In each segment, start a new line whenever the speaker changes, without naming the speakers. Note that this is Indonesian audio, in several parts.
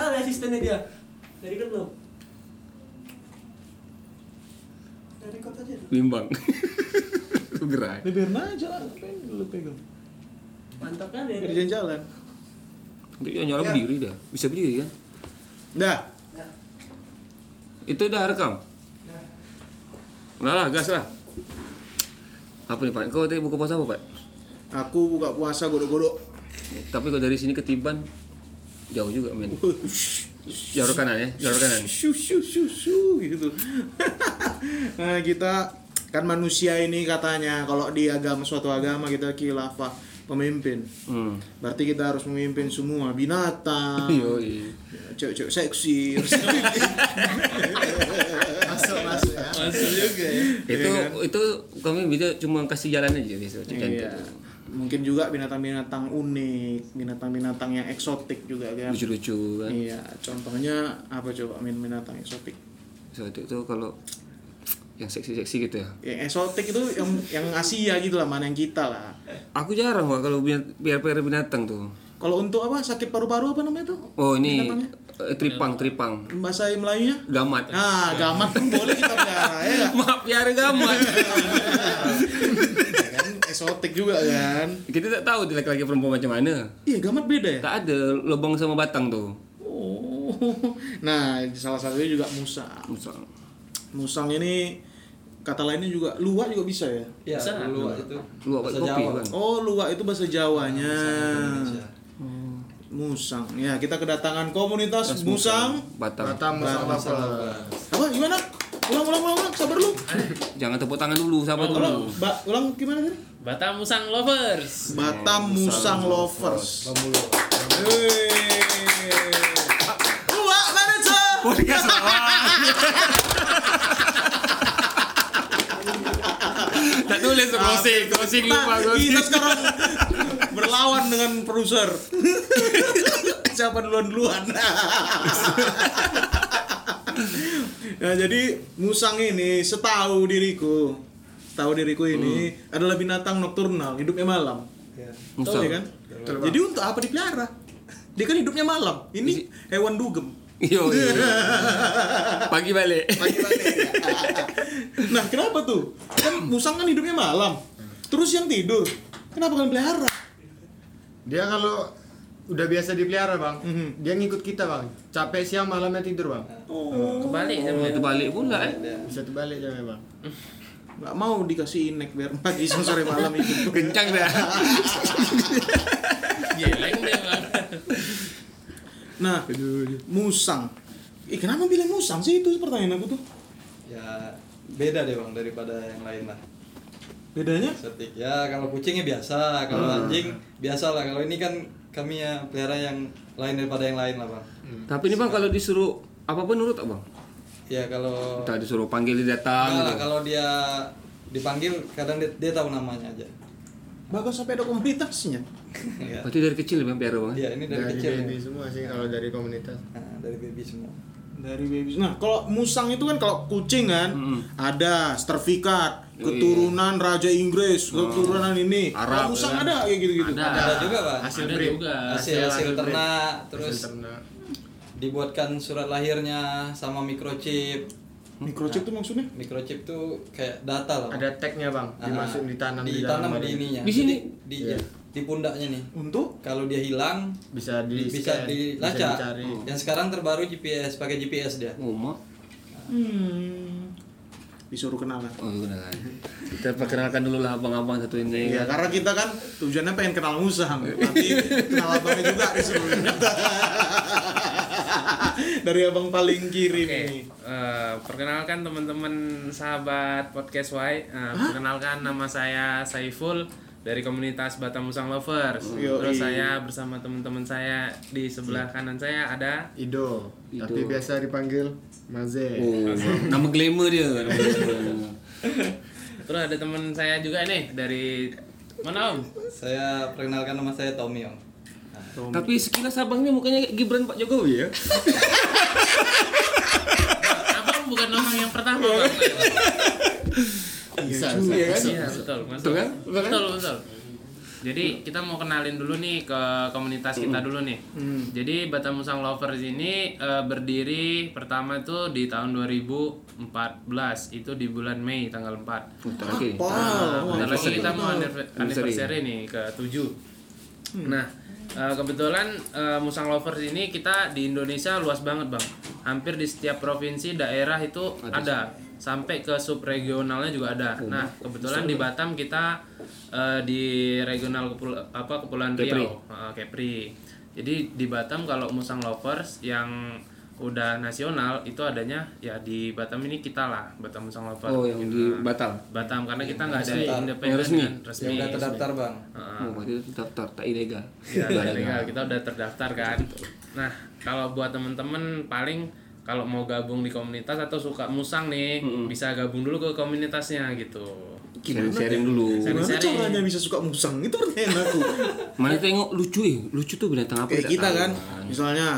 Kristen nih dia. Dari kan belum? Dari kota aja. dulu.
Bimbang. Lu gerak.
Lu biarin aja lah, apa yang lu pegang?
Mantap kan ya.
Biar jalan-jalan.
Dia nyala
Ya.
berdiri dah. Bisa berdiri kan?
Dah.
Nah,
Itu udah rekam.
nah.
Udah lah, gas lah. Apa nih Pak? Kau tadi buka puasa apa Pak?
Aku buka puasa godok-godok.
Tapi kalau dari sini ke Tiban jauh juga men. Jalur kanan ya, jalur kanan.
Syu syu syu syu gitu. nah, kita kan manusia ini katanya kalau di agama suatu agama kita khilafah pemimpin.
Hmm.
Berarti kita harus memimpin semua binatang.
Iya.
Yoi.
Cewek-cewek seksi.
masuk masuk ya
Masuk juga ya.
Itu itu kami bisa cuma kasih jalan aja gitu.
Iya. Mungkin juga binatang-binatang unik, binatang-binatang yang eksotik juga kan.
Lucu-lucu kan.
Iya, contohnya apa coba min binatang eksotik?
Saat itu kalau yang seksi-seksi gitu ya.
Yang eksotik itu yang yang Asia gitu lah, mana yang kita lah.
Aku jarang Pak kalau binat- biar biar binatang tuh.
Kalau untuk apa sakit paru-paru apa namanya tuh?
Oh ini
Binatangnya?
eh, tripang tripang
Bahasa Melayunya?
gamat.
Nah, gamat pun boleh kita pelihara ya nggak?
Maaf ya gamat.
Ya kan eksotik juga kan.
Kita tak tahu dia laki-laki perempuan macam mana.
Iya, gamat beda ya.
Tak ada lubang sama batang tuh.
Oh. Nah, salah satunya juga musang.
Misal.
Musang ini kata lainnya juga luwak juga bisa ya.
ya
Bisa nggak?
luwak itu
Luwak buat
Bahasa
kopi
Jawa. Iya,
kan.
Oh, luwak itu bahasa Jawanya.
Indonesia.
Musang. Ya, kita kedatangan komunitas musang.
Batang.
Bahasa Jawa.
Apa gimana? Ulang ulang ulang, ulang. sabar lu.
Jangan tepuk tangan dulu, sabar dulu.
Ulang, ba- ulang gimana tadi?
Batam Musang Lovers.
Batam Musang Lovers.
Pemulu.
Luwak mana, Cok?
Podcast lawak. tak tulis closing, closing lupa
kita
closing.
sekarang berlawan dengan produser siapa duluan duluan nah jadi musang ini setahu diriku setahu diriku ini adalah binatang nokturnal hidupnya malam
Ya.
Musang.
Tahu ya kan jadi untuk apa dipelihara dia kan hidupnya malam ini hewan dugem
Yo. yo. Pagi balik.
nah kenapa tuh kan musang kan hidupnya malam terus yang tidur kenapa kalian pelihara
Dia kalau udah biasa dipelihara bang, dia ngikut kita bang. Capek siang malamnya tidur bang,
Kebalik sama
Itu balik Oh, pula eh.
bisa terbalik jamnya bang.
nggak mau dikasih inek biar pagi siang, sore malam itu
Kencang dah.
Geleng dia Bang.
nah musang Ih, kenapa bilang musang sih itu pertanyaan aku tuh
ya beda deh bang daripada yang lain lah
bedanya
setik ya kalau kucingnya biasa kalau
Hmm.
anjing biasa lah kalau ini kan kami ya pelihara yang lain daripada yang lain lah bang
Tapi ini Bang kalau disuruh apapun nurut tak Bang?
ya kalau
Tak disuruh panggil dia datang
Nah,
Enggak lah,
gitu.
kalau dia dipanggil kadang dia, dia tahu namanya aja
bagus sampai ada komunitasnya
ya.
Berarti dari kecil Bang piara Bang.
Iya, ini dari
Dari
kecil ya.
baby semua sih kalau dari komunitas.
Nah, dari baby semua
dari baby nah kalau musang itu kan kalau kucing kan ada sertifikat keturunan raja Inggris keturunan ini
Arab,
kalau musang
kan?
ada kayak gitu gitu
ada
Ada.
juga bang
Hasil
Ada
breed.
juga.
hasil hasil ternak terus
Ah. Hasil ternak.
dibuatkan surat lahirnya sama microchip
microchip tuh maksudnya
microchip tuh kayak data lah Bang.
Ada tagnya bang,
Ah,
dimasukin ditanam di
ditanam
dalam
di
badan.
ininya
Di sini?
di, di- di pundaknya nih
untuk
kalau dia hilang
Bisa
di-
di
Oh. bisa
scan,
dilacak
bisa dicari.
yang sekarang terbaru GPS pakai GPS dia
Oh, mak.
hmm, disuruh kenalan
Oh, itu kenalan. Kita perkenalkan dulu lah abang-abang satu ini.
Iya, karena kita kan tujuannya pengen kenal musang, tapi kenal abangnya juga disuruh. Dari abang paling kiri
Oke,
nih.
eh, perkenalkan teman-teman sahabat podcast Y. Eh, perkenalkan nama saya Saiful dari komunitas Batam Musang Lovers.
Yoi.
Terus saya bersama teman-teman saya di sebelah kanan saya ada
Ido. tapi biasa dipanggil Maze.
Oh, nama glamour dia. Nama glamour.
terus ada teman saya juga nih dari mana Om?
saya perkenalkan nama saya Tommy om
Tapi sekilas abangnya mukanya kayak Gibran Pak Jokowi ya.
Abang bukan orang yang pertama Bang.
Bisa,
Iya kan?
Iya, betul. Masuk.
Betul kan? Betul kan?
Betul, betul. Jadi kita mau kenalin dulu nih ke komunitas kita
Hmm.
dulu nih. Jadi Batam Musang Lovers ini eh, berdiri pertama tuh di tahun 2014 itu di bulan Mei tanggal 4.
Bentar lagi.
Wow.
Nah, bentar lagi kita mau anniver-
Anniversary.
anniversary nih ke 7 Nah eh, kebetulan eh, Musang Lovers ini kita di Indonesia luas banget bang. Hampir di setiap provinsi daerah itu ada, sampai ke subregionalnya juga ada. Nah kebetulan di Batam kita eh, di regional Kepul- apa Kepulauan Riau eh, Kepri. Jadi di Batam kalau Musang Lovers yang udah nasional itu adanya ya di Batam ini kita lah Batam Musang Lovers.
Oh, yang di
Nah.
Batam.
Batam karena kita nggak ada
Resmi.
independen
Yang resmi.
kan, resmi.
Ya udah terdaftar bang.
Heeh.
Oh, berarti itu daftar tak ilegal.
Ya, udah legal. kita udah terdaftar kan. Nah, kalau buat temen-temen paling kalau mau gabung di komunitas atau suka musang nih, bisa gabung dulu ke komunitasnya gitu.
Sharing-sharing dulu.
Gimana
Seri-seri.
caranya bisa suka musang? Itu pertanyaan aku.
Mana tengok lucu ya? Lucu tuh binatang apa?
Kayak
tidak
kita
tahu. Ah,
kan, misalnya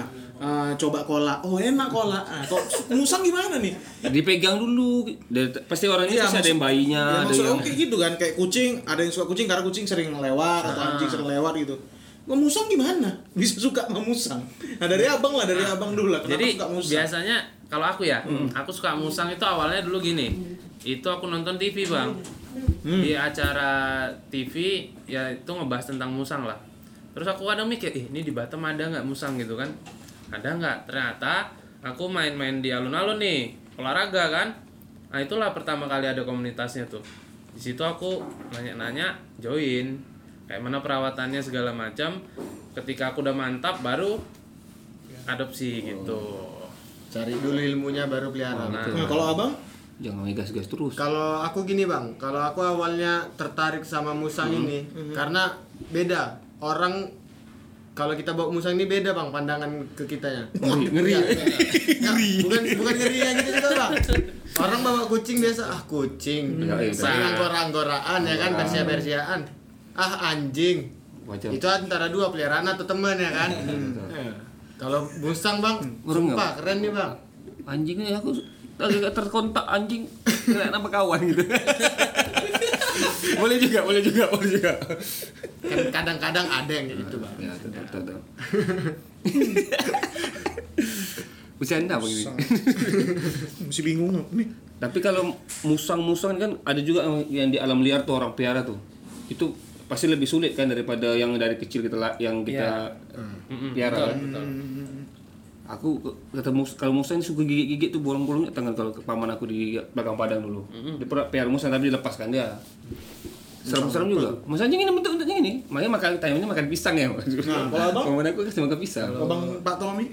eh, coba kola. Oh enak kola. Ah, kok musang gimana nih?
Dipegang dulu. Dari- Pasti orangnya
Iya,
pasti ada
maksud-
yang bayinya,
Ya,
Ah,
ada
maksud
yang
aku kayak gitu kan, kayak kucing, ada yang suka kucing karena kucing sering lewat atau
Ah.
anjing sering lewat gitu. Ngemusang gimana? Bisa suka ngemusang. Nah dari abang lah, dari abang dulu lah. Kenapa
Jadi
suka musang?
biasanya kalau aku ya, aku suka musang itu awalnya dulu gini. Itu aku nonton TV, Bang. Di acara TV ya itu ngebahas tentang musang lah. Terus aku kadang mikir, "Ih, ini di Batam ada nggak musang gitu kan?" Ada nggak? Ternyata aku main-main di alun-alun nih, olahraga kan. Nah, itulah pertama kali ada komunitasnya tuh. Di situ aku nanya-nanya, join. Kayak mana perawatannya segala macam. Ketika aku udah mantap baru adopsi gitu.
Cari dulu ilmunya baru pelihara.
Nah,
Nah, kalau abang,
jangan ngegas-gas terus.
Kalau aku gini bang, kalau aku awalnya tertarik sama musang ini karena beda orang kalau kita bawa musang ini beda bang pandangan ke kitanya. Ngeri, ngeri. bukan bukan ngeri yang gitu juga bang. Orang bawa kucing biasa ah kucing,
Ya, iya.
sering anggora-anggoran ya kan persia-persiaan. Ah anjing.
Wajar.
Itu antara dua peliharaan atau temen ya kan. Eh. Kalau musang bang,
Burung nggak,
sumpah keren nih bang.
Anjingnya eh, aku agak terkontak anjing. Kenapa kawan gitu? boleh juga, boleh juga, boleh juga.
Kan kadang-kadang ada yang kayak gitu bang.
Ya, tetap, tetap. Bercanda begini.
masih bingung aku nih.
Tapi kalau musang-musang kan ada juga yang di alam liar tuh orang piara tuh. Itu pasti lebih sulit kan daripada yang dari kecil kita la- yang kita eh,
Hmm.
piara. kan. Aku ke- ketemu kalau musang ini suka gigit-gigit tuh bolong-bolongnya tangan kalau ke paman aku di belakang padang dulu. Dia pernah piara musang tapi dilepaskan dia. Serem-serem juga. Mas anjing ini bentuk-bentuknya ini. Makanya makan tayamnya makan pisang ya.
Nah, kalau abang?
Paman aku kasih makan pisang.
Abang Pak Tommy,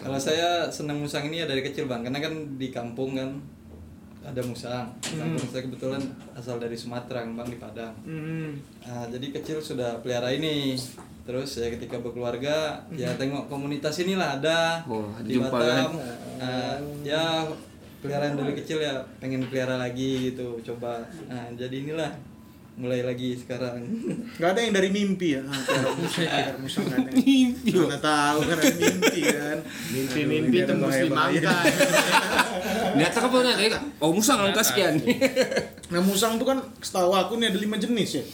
Kalau saya senang musang ini ya dari kecil bang, karena kan di kampung kan ada musang. Kampung saya kebetulan asal dari Sumatera kan, bang di Padang. Nah, jadi kecil sudah pelihara ini. Terus ya ketika berkeluarga ya tengok komunitas inilah ada
Oh, ada
di
jumpa,
Batam. Nah, ya peliharaan dari kecil ya pengen pelihara lagi gitu coba. Nah, jadi inilah mulai lagi sekarang.
nggak ada yang dari mimpi ya? Ah, kayak musang, kayak musang nggak ada. Mimpi. Mana tahu kan ada mimpi kan.
Mimpi-mimpi
Aduh, Iya.
tembus
ini ada
di
bahaya.
mangga.
Dia tak apa nih? Oh musang angka sekian.
Nah musang tuh kan setahu aku nih ada lima jenis ya.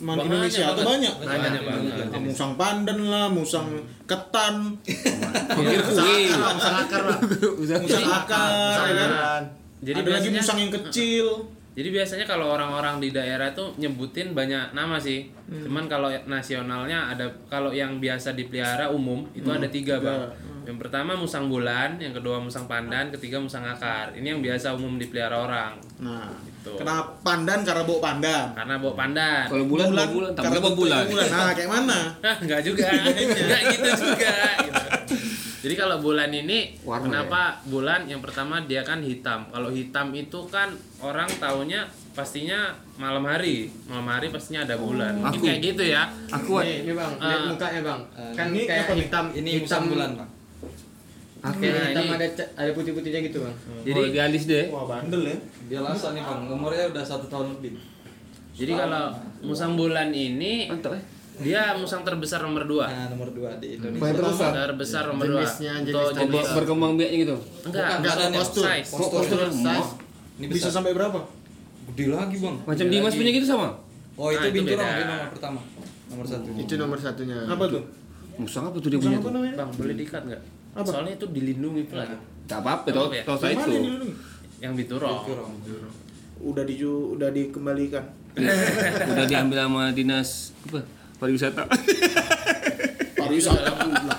Emang
Banyak
Indonesia atau
banget.
banyak?
Banyak banget.
Ah, musang pandan lah, musang ketan,
Pikir kue.
Musang akar bang.
Musang
musang akar, ya kan?
Akar.
Jadi
ada lagi
biasanya
musang yang kecil.
jadi biasanya kalau orang-orang di daerah tuh nyebutin banyak nama sih. Cuman kalau nasionalnya ada kalau yang biasa dipelihara umum itu ada Hmm. tiga bang. Yang pertama musang bulan, yang kedua musang pandan, ketiga musang akar. Ini yang biasa umum dipelihara orang.
Nah,
Gitu.
kenapa pandan karena bau pandan?
Karena bawa pandan.
Kalau bulan bulan, bulan tambah berapa bulan?
bentuknya Nah, kayak mana?
Hah, nggak juga, nggak gitu juga. gitu. Jadi kalau bulan ini,
Warna
kenapa bulan? Yang pertama dia kan hitam. Kalau hitam itu kan orang taunya pastinya malam hari, malam hari pastinya ada bulan. Mungkin
aku.
kayak gitu ya.
Aku
Nih, ini bang, lihat
Ah.
mukanya bang.
Ah,
Kan
ini
kayak
apa nih?
hitam,
Ini
hitam
musang bulan bang.
aku
Nah,
Kayak hitam
ini-
ada ce- ada putih-putihnya gitu bang.
jadi
Jadi,
idealis deh.
Wah, bandel ya.
Dia lasa nih bang, umurnya udah satu tahun lebih.
jadi kalau musang bulan ini
Mantap eh.
dia musang terbesar nomor dua.
Nah, nomor dua di Indonesia.
Banyak terbesar.
Terbesar nomor dua.
Jenisnya, jenis
Untuk
Jadi
Ber-
jenis
berkembang biaknya gitu.
enggak,
Bukan,
enggak
badannya.
postur, size.
Postur.
Postur, size.
Ini
Bisa
besar.
sampai berapa?
Gede lagi bang.
Macam
Gede
Dimas
lagi.
punya gitu sama.
Oh itu
Nah, itu
binturong
beda.
dia nomor pertama. nomor satu
itu nomor satunya
Apa tuh?
Musang apa tuh dia
Musang
punya
apa
tuh?
namanya?
Bang, boleh diikat nggak?
Apa?
Soalnya itu dilindungi itu lagi.
Gak apa-apa, tau,
Apa ya?
tau saya
Yang mana yang
itu
dilindungi?
Yang biturong.
Curong.
Udah diju, udah dikembalikan.
Udah diambil sama dinas apa? pariwisata
Pariwisata pula.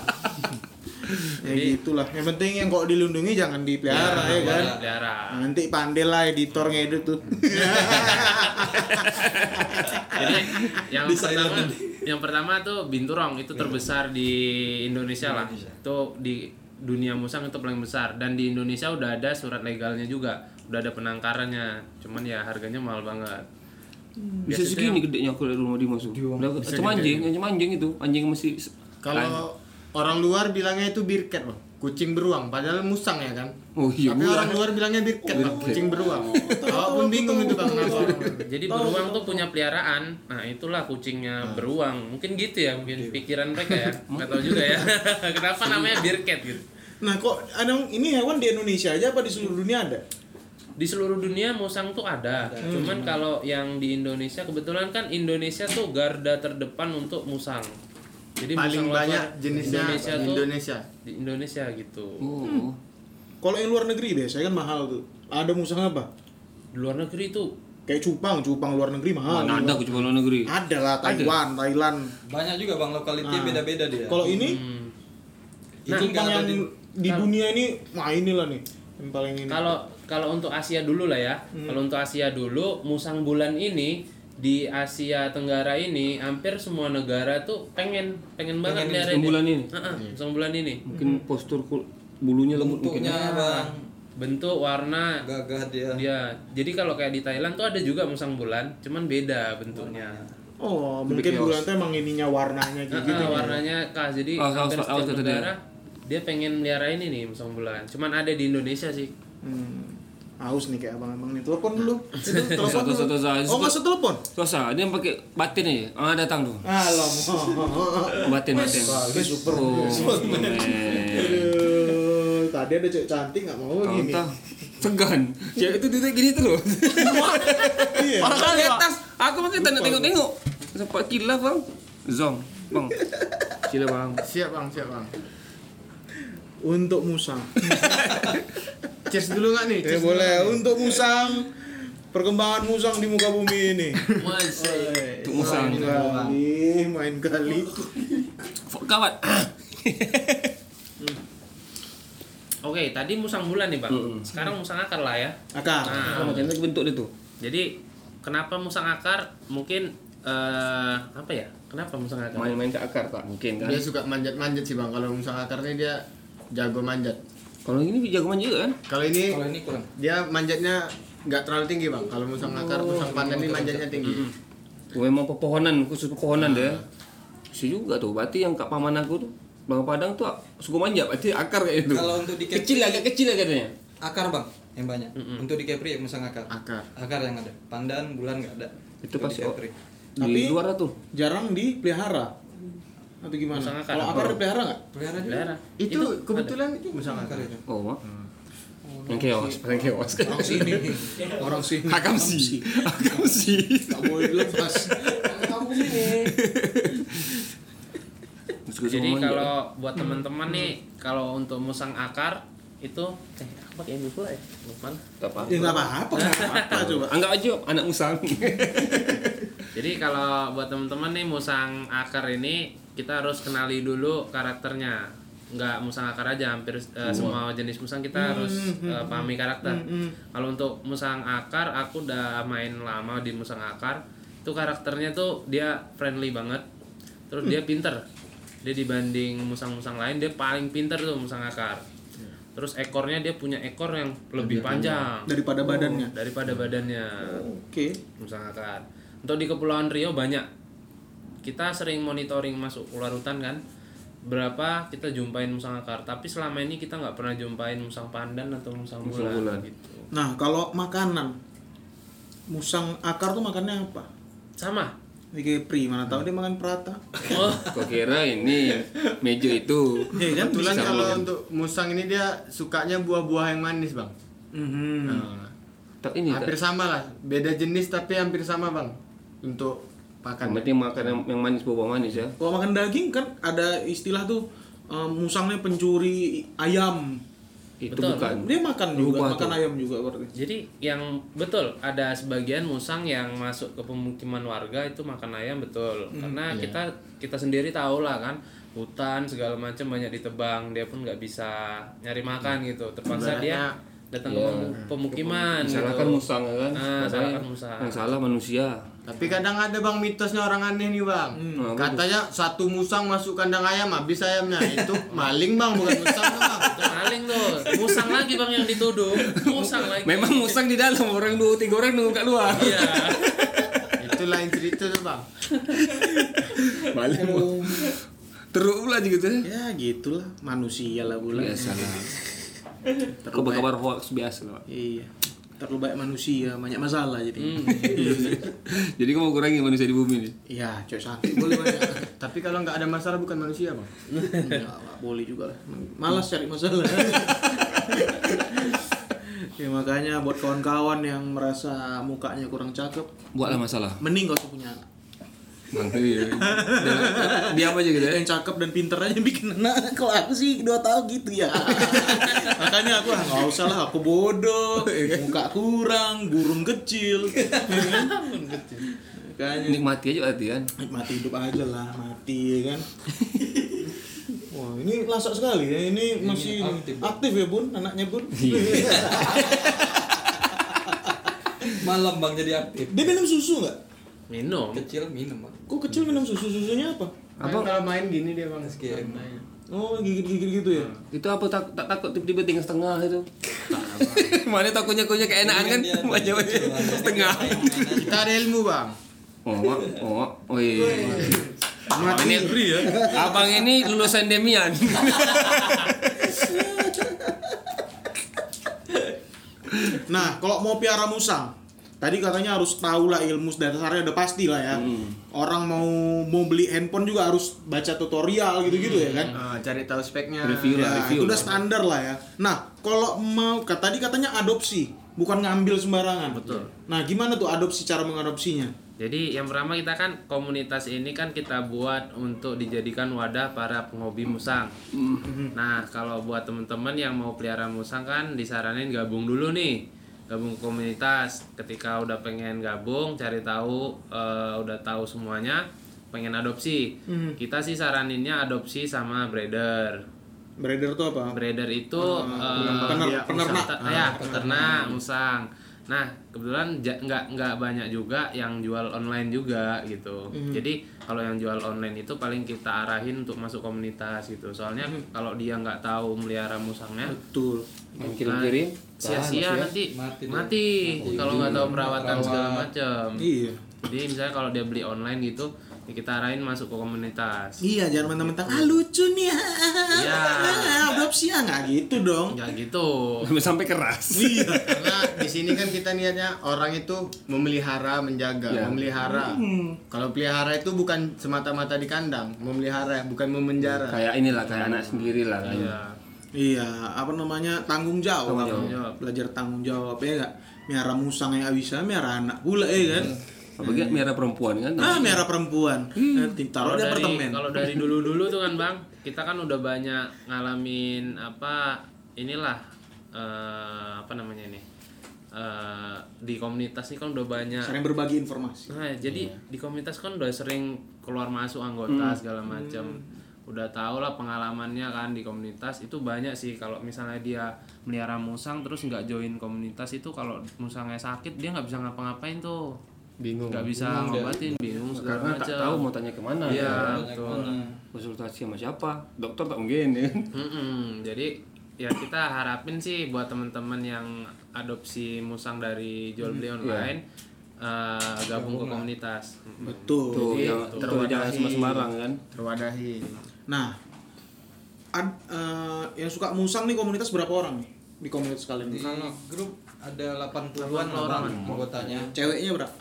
ya gitulah. Yang penting yang kok dilindungi jangan
Iya
dipelihara ya, kan.
Pelihara.
Nanti pandai lah editor ngedit tuh.
Jadi yang
Di
pertama
silent.
yang pertama tuh binturong itu terbesar di Indonesia lah.
Indonesia.
Itu di dunia musang itu paling besar dan di Indonesia udah ada surat legalnya juga. Udah ada penangkarannya. Cuman ya harganya mahal banget.
Bisa
Biasanya-
Hmm. segini gedenya aku dari rumah Dimas tuh Udah Macam anjing, macam anjing itu Anjing masih
kalau orang luar bilangnya itu birket loh kucing beruang padahal musang ya kan
Oh iya,
tapi
beruang.
orang luar bilangnya birket Bang. kucing beruang kalau pun bingung itu bang kenapa orang luar.
Jadi beruang tuh punya peliharaan. Nah, itulah kucingnya
Nah.
beruang. Mungkin gitu ya, mungkin pikiran mereka ya. Enggak tahu juga ya. Kenapa namanya birket gitu.
nah, kok ada ini hewan di Indonesia aja apa di seluruh dunia ada?
Di seluruh dunia musang tuh ada. Cuman kalau yang di Indonesia kebetulan kan Indonesia tuh garda terdepan untuk musang. Jadi
paling
musang
banyak
lokal
jenisnya
Indonesia
di
tuh
Indonesia
di Indonesia gitu.
Hmm.
Oh,
Kalau yang luar negeri biasanya kan mahal tuh. Ada musang apa?
Di luar negeri tuh
Kayak cupang, cupang luar negeri mahal.
mana ada oh, aku coba luar negeri
Ada lah Taiwan, Thailand.
banyak juga bang lokality
Nah.
beda-beda dia
Kalau ini
Nah,
cupang
Iya. nggak
yang
ada
di,
di-
dunia ini, wah inilah nih yang paling ini.
Kalau kalau untuk Asia dulu lah ya. Kalau untuk Asia dulu, musang bulan ini di Asia Tenggara ini hampir semua negara tuh pengen pengen banget pelihara
musang bulan ini?
Heeh,
Iya.
musang bulan ini.
Mungkin postur kul- bulunya lembut mungkin
bentuknya bang
Bentuk, warna
gagah dia
dia. Iya, Jadi kalau kayak di Thailand tuh ada juga musang bulan, cuman beda bentuknya.
Oh, mungkin bulan tuh emang ininya warnanya gitu.
Heeh, warnanya khas. Jadi
ya. Oh,
hampir
oh, oh,
setiap
oh, itu dia.
negara dia pengen melihara ini nih musang bulan. Cuman ada di Indonesia sih.
Hmm. Haus nih kayak abang-abang nih. Telepon dulu. Itu telepon
Satu, satu,
dulu.
satu.
Oh, enggak usah telepon.
Susah, eh. dia pakai batin aja Ah datang tuh
Alamak.
Batin, batin
Bagus, ah, super.
Oh, men.
Aduh, tadi ada cewek cantik nggak mau
Tahu
gini.
tak? Segan. Cewek itu duduk gini terus.
Iya.
Orang kan di atas. Aku pakai tanda tengok-tengok. Sempat kilaf bang. Zong, bang. Sila bang.
siap bang siap bang
Untuk musang.
cheers dulu nggak nih
Ya
Cheers
boleh. Untuk musang. Perkembangan musang di muka bumi ini.
Untuk musang.
Main kali, main kali.
Fuck, Kawat.
Oke, tadi musang bulan nih, Bang. Sekarang musang akar lah ya.
Akar.
Nah,
Ah, Macam mana bentuk dia tu?
Jadi kenapa musang akar? Mungkin eh apa ya? Kenapa musang akar?
Main-main ke akar tak mungkin
dulu.
kan?
dia suka manjat-manjat sih bang kalau musang akarnya dia jago manjat
Kalau ini jagoan juga kan?
kalau ini
kalau ini kurang
dia manjatnya nggak terlalu tinggi bang kalau musang akar musang pandan ini manjatnya tinggi
Oh, Memang pepohonan, khusus pepohonan
Ah.
dia. Si juga tuh. Berarti yang kat paman aku tu, Bang Padang tu suka manja, berarti akar kayak itu.
Kalau untuk di Kepri-
kecil agak kecil lah katanya.
akar bang yang banyak untuk di Capri yang musang akar
akar
akar yang ada pandan bulan nggak ada
Itu
Untuk
pasti
di Capri.
Di
Tapi-
luar lah tuh.
Jarang dipelihara. Atau gimana?
Musang akar.
Kalau akar dipelihara nggak?
pelihara dia
Daerah.
itu, kebetulan musang akar
akar itu
Oh, mak.
Hmm.
Yang chaos, paling chaos kan.
Orang sini. Orang sini.
Hakam si. Hakam si.
Nggak boleh dilepas.
Kamu sini.
Jadi kalau buat teman-teman nih, kalau untuk musang akar itu eh, apa kayak pula ya? Lupa.
tak apa.
Ya nggak apa-apa. nggak apa-apa coba.
Anggap aja anak musang.
Jadi kalau buat teman-teman nih musang akar ini kita harus kenali dulu karakternya. Nggak musang akar aja, hampir eh, semua jenis musang kita harus eh, pahami karakter. Kalau untuk musang akar, aku udah main lama di musang akar. Itu karakternya tuh dia friendly banget, terus dia pinter. Dia dibanding musang-musang lain dia paling pinter tuh musang akar. Terus ekornya dia punya ekor yang Ya. lebih Oh. panjang
Daripada badannya.
daripada badannya
Oke.
misalkan untuk di kepulauan Riau banyak kita sering monitoring masuk ular hutan kan berapa kita jumpain musang akar tapi selama ini kita nggak pernah jumpain musang pandan atau musang
Musang
bulan,
bulan.
gitu
Nah, kalau makanan. Musang akar tuh makannya apa?
sama
Kayak pri, mana tahu dia makan perata.
oh
Kau kira ini meja itu.
Iya kan?
kebetulan
bisa.
kalau untuk musang ini dia sukanya buah-buah yang manis bang
Mhm.
Nah,
Tak ini
hampir
tak.
sama lah beda jenis tapi hampir sama bang untuk pakan.
Yang penting makan yang, yang manis bawa manis ya.
Kalau makan daging kan ada istilah tuh eh, musangnya pencuri ayam.
Itu
Betul.
bukan.
Dia makan juga,
Berubah
makan
tuh.
ayam juga berarti.
Jadi yang betul ada sebagian musang yang masuk ke pemukiman warga itu makan ayam betul. Karena kita kita sendiri tahu lah kan hutan segala macam banyak ditebang dia pun nggak bisa nyari makan gitu. Terpaksa dia datang ke pemu- pemukiman.
Salahkan
gitu.
musang ya kan.
Ah,
Padahal
salahkan musang.
Yang salah manusia.
Tapi kadang ada bang mitosnya orang aneh nih bang.
Nah,
Katanya satu musang masuk kandang ayam habis ayamnya itu maling bang bukan musang tuh, bang.
Itu maling tuh. Musang lagi bang yang dituduh. Musang lagi.
Memang musang di dalam orang dua tiga orang nunggu ke luar.
Iya.
Itu lain cerita tuh bang.
Balik. Teruk pula gitu ya.
Ya gitulah manusia lah pula.
Biasa lah. Kau berkabar hoax biasa lah. Pak.
Iya. Terlalu banyak manusia, banyak masalah jadi.
Jadi kamu mau kurangi manusia di bumi nih.
Iya, coy sakit boleh banyak.
Tapi kalau nggak ada masalah bukan manusia bang.
Enggak, Pak. boleh juga lah. Malas cari masalah. ya makanya buat kawan-kawan yang merasa mukanya kurang cakep,
Buatlah masalah.
mending gak usah punya anak.
Bang, iya. Jangan- Diam aja gitu ya.
yang cakep dan pinter aja yang bikin anak kalau aku sih dua tahun gitu ya makanya aku ah, nggak usah lah aku bodoh muka kurang burung kecil ya kan? makanya
Nikmati aja kan. latihan.
nikmati hidup aja lah mati ya kan Wah, ini lasak sekali ya. Ini masih aktif,
aktif.
ya, Bun, anaknya, Bun.
Malam bang jadi aktif.
Dia minum susu nggak?
Minum.
Kecil minum bang.
Kok kecil minum susu? Susunya apa?
Abang kalau main gini dia bang.
Sekian.
Oh, gigit-gigit gitu ya.
Itu apa tak, tak takut tiba-tiba tinggal setengah itu. Mana takutnya kunya keenaan kan
Dia ada
banyak
kecil, Bang.
setengah.
Kita ada ilmu bang.
Oh, oh, oh, oh iya. Abang ini,
ya.
abang ini lulusan Demian.
Nah, kalau mau piara musang, tadi katanya harus tahu lah ilmu dasarnya udah pasti lah ya. Orang mau mau beli handphone juga harus baca tutorial gitu-gitu ya kan.
Ah, cari tahu speknya.
Review lah,
Ya,
review.
itu udah
lah.
standar lah ya. Nah, kalau mau kata tadi katanya adopsi, bukan ngambil sembarangan.
Betul.
Nah, gimana tuh adopsi cara mengadopsinya?
Jadi yang pertama kita kan komunitas ini kan kita buat untuk dijadikan wadah para penghobi musang. Nah kalau buat teman-teman yang mau pelihara musang kan disaranin gabung dulu nih, gabung ke komunitas. Ketika udah pengen gabung, cari tahu eh, udah tahu semuanya, pengen adopsi. Kita sih saraninnya adopsi sama breeder.
Breeder tuh apa?
Breeder itu eh,
pener-
musang
Ah, penernak. Ah.
te- ya, peternak musang. Nah, kebetulan ja- nggak nggak banyak juga yang jual online juga gitu.
Hmm.
Jadi kalau yang jual online itu paling kita arahin untuk masuk komunitas gitu. Soalnya kalau dia nggak tahu melihara musangnya,
Hmm.
Nah,
Betul.
Yang kirim-kirim. ya.
sia-sia nanti mati,
Mati dia.
kalau nggak tahu perawatan segala macam.
Iya.
Jadi misalnya kalau dia beli online gitu, ya kita arahin masuk ke komunitas.
Iya, jangan mentang-mentang ah lucu nih.
Iya.
Ah, adopsi ah nggak gitu dong.
Nggak gitu.
Oh, Sampai keras.
Iya.
Karena di sini kan kita niatnya orang itu memelihara, menjaga,
Ya.
memelihara. Kalau pelihara itu bukan semata-mata di kandang, memelihara bukan memenjara.
Kayak inilah kayak anak sendiri lah. kan.
Iya.
Iya, apa namanya tanggung jawab.
Tanggung
jawab.
Belajar tanggung jawab ya enggak. Miara musang yang bisa, miara anak pula ya kan.
Apalagi merah perempuan kan.
Ah, miara perempuan. Nanti taruh di
Iya. Hmm. Kalau dari
apartemen.
kalau dari dulu-dulu tuh kan bang, kita kan udah banyak ngalamin apa inilah eh, apa namanya ini Eh, di komunitas ini kan udah banyak.
Sering berbagi informasi.
Nah, jadi
Iya.
di komunitas kan udah sering keluar masuk anggota segala macam.
Hmm.
Udah tau lah pengalamannya kan di komunitas itu banyak sih kalau misalnya dia melihara musang terus nggak join komunitas itu kalau musangnya sakit dia nggak bisa ngapa-ngapain tuh.
Bingung.
Nggak bisa ngobatin, bingung
Karena
segala
tak
macam.
tahu mau tanya kemana.
Iya,
kan.
betul.
Konsultasi sama siapa? Dokter tak mungkin ya kan.
Mm-mm, jadi ya kita harapin sih buat teman-teman yang adopsi musang dari jual beli
Iya.
online eh, gabung ke komunitas.
Oh, Betul.
Tuh, jangan- tuh, jangan
terwadahi.
sembarang kan.
Terwadahi.
Nah, ad- eh, yang suka musang nih komunitas berapa orang nih? Di komunitas kalian
Di
nih?
grup ada 80-an lah bang anggotanya.
Ceweknya berapa?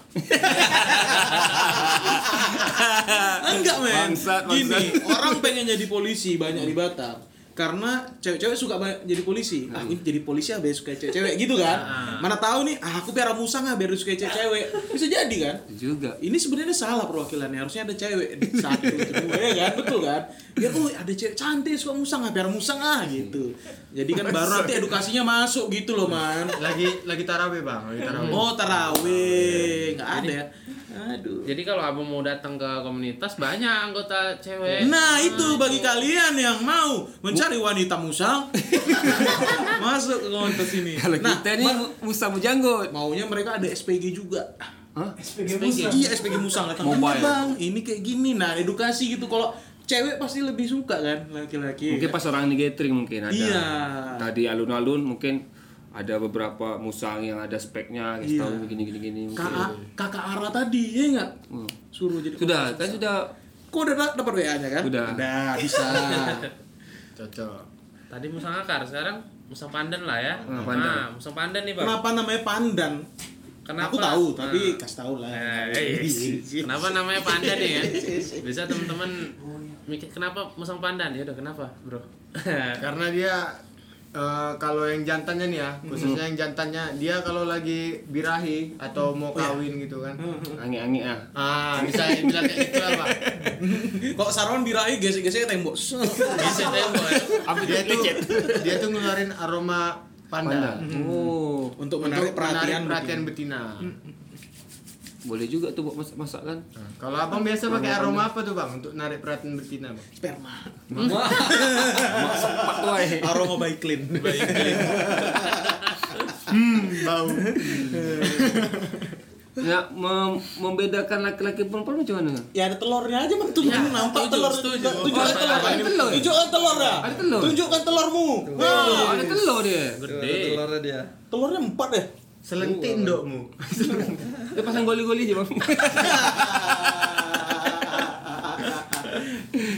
Ah, Enggak men.
Bangsat,
Gini,
bangsat.
orang pengen jadi polisi banyak di Batam. karena cewek-cewek suka banyak jadi polisi ah ini jadi polisi ah biar suka cewek-cewek gitu kan mana tahu nih ah aku piara musang ah biar suka cewek-cewek bisa jadi kan
juga
ini sebenarnya salah perwakilannya harusnya ada cewek di satu kedua ya kan betul kan ya oh ada cewek cantik suka musang ah biar musang ah gitu jadi kan baru nanti edukasinya masuk gitu loh man
lagi lagi tarawih bang lagi tarawih
oh tarawih nggak ada ya aduh
Jadi kalau abang mau datang ke komunitas banyak anggota cewek. Hmm.
Nah itu bagi kalian yang mau mencari wanita musang Masuk ke komunitas ini
kalau gitu,
Nah
kita nih musang janggut
maunya mereka ada SPG juga
SPG
Musa.
Iya SPG musang datang
Mobile.
"Ini, bang ini kayak gini Nah edukasi gitu kalau cewek pasti lebih suka kan laki-laki
mungkin pas orang ini gathering mungkin ada
Iya.
tadi alun-alun mungkin ada beberapa musang yang ada speknya kasih
Iya.
tahu gini gini gini mungkin.
kakak kakak Ara tadi ya nggak
Hmm.
suruh jadi
sudah kan sudah
kok udah da- dapat WA nya kan
Udah.
udah bisa
cocok
Tadi musang akar, sekarang musang pandan lah ya.
Ah, pandan.
Nah, musang pandan nih, Bang.
kenapa namanya pandan
Kenapa?
aku tahu tapi
Nah.
kasih tahu lah
Eh, eh, eh. kenapa namanya pandan nih ya? Bisa teman-teman mikir kenapa musang pandan? Ya udah kenapa, Bro?
karena dia eh, kalau yang jantannya nih ya khususnya yang jantannya dia kalau lagi birahi atau mau
Iya.
kawin gitu kan
angi-angi ah
ah bisa bilang kayak gitu lah pak
kok Sarwan birahi gesek-gesek tembok
Oh.
Bisa tembok ya.
dia tuh dia tuh ngeluarin aroma
panda
panda
oh
untuk
untuk
menarik perhatian
perhatian betina
boleh juga tuh buat masak masak kan
Nah, kalau abang biasa pakai aroma apa tuh bang untuk narik perhatian betina bang
sperma
Pak Wai.
aroma by clean
bau
Ya, mem- membedakan laki-laki perempuan macam mana?
ya ada telurnya aja man tuh
Ya,
nampak
setuju,
telur
setuju.
Oh,
tunjukkan telur
ada telur.
tunjukkan telur ya
Ada telur.
tunjukkan telurmu
Oh,
Nah,
ada telur dia.
Gede.
Tuh, telurnya dia
telurnya empat deh
selentik dokmu
Dia pasang goli-goli aja, Bang.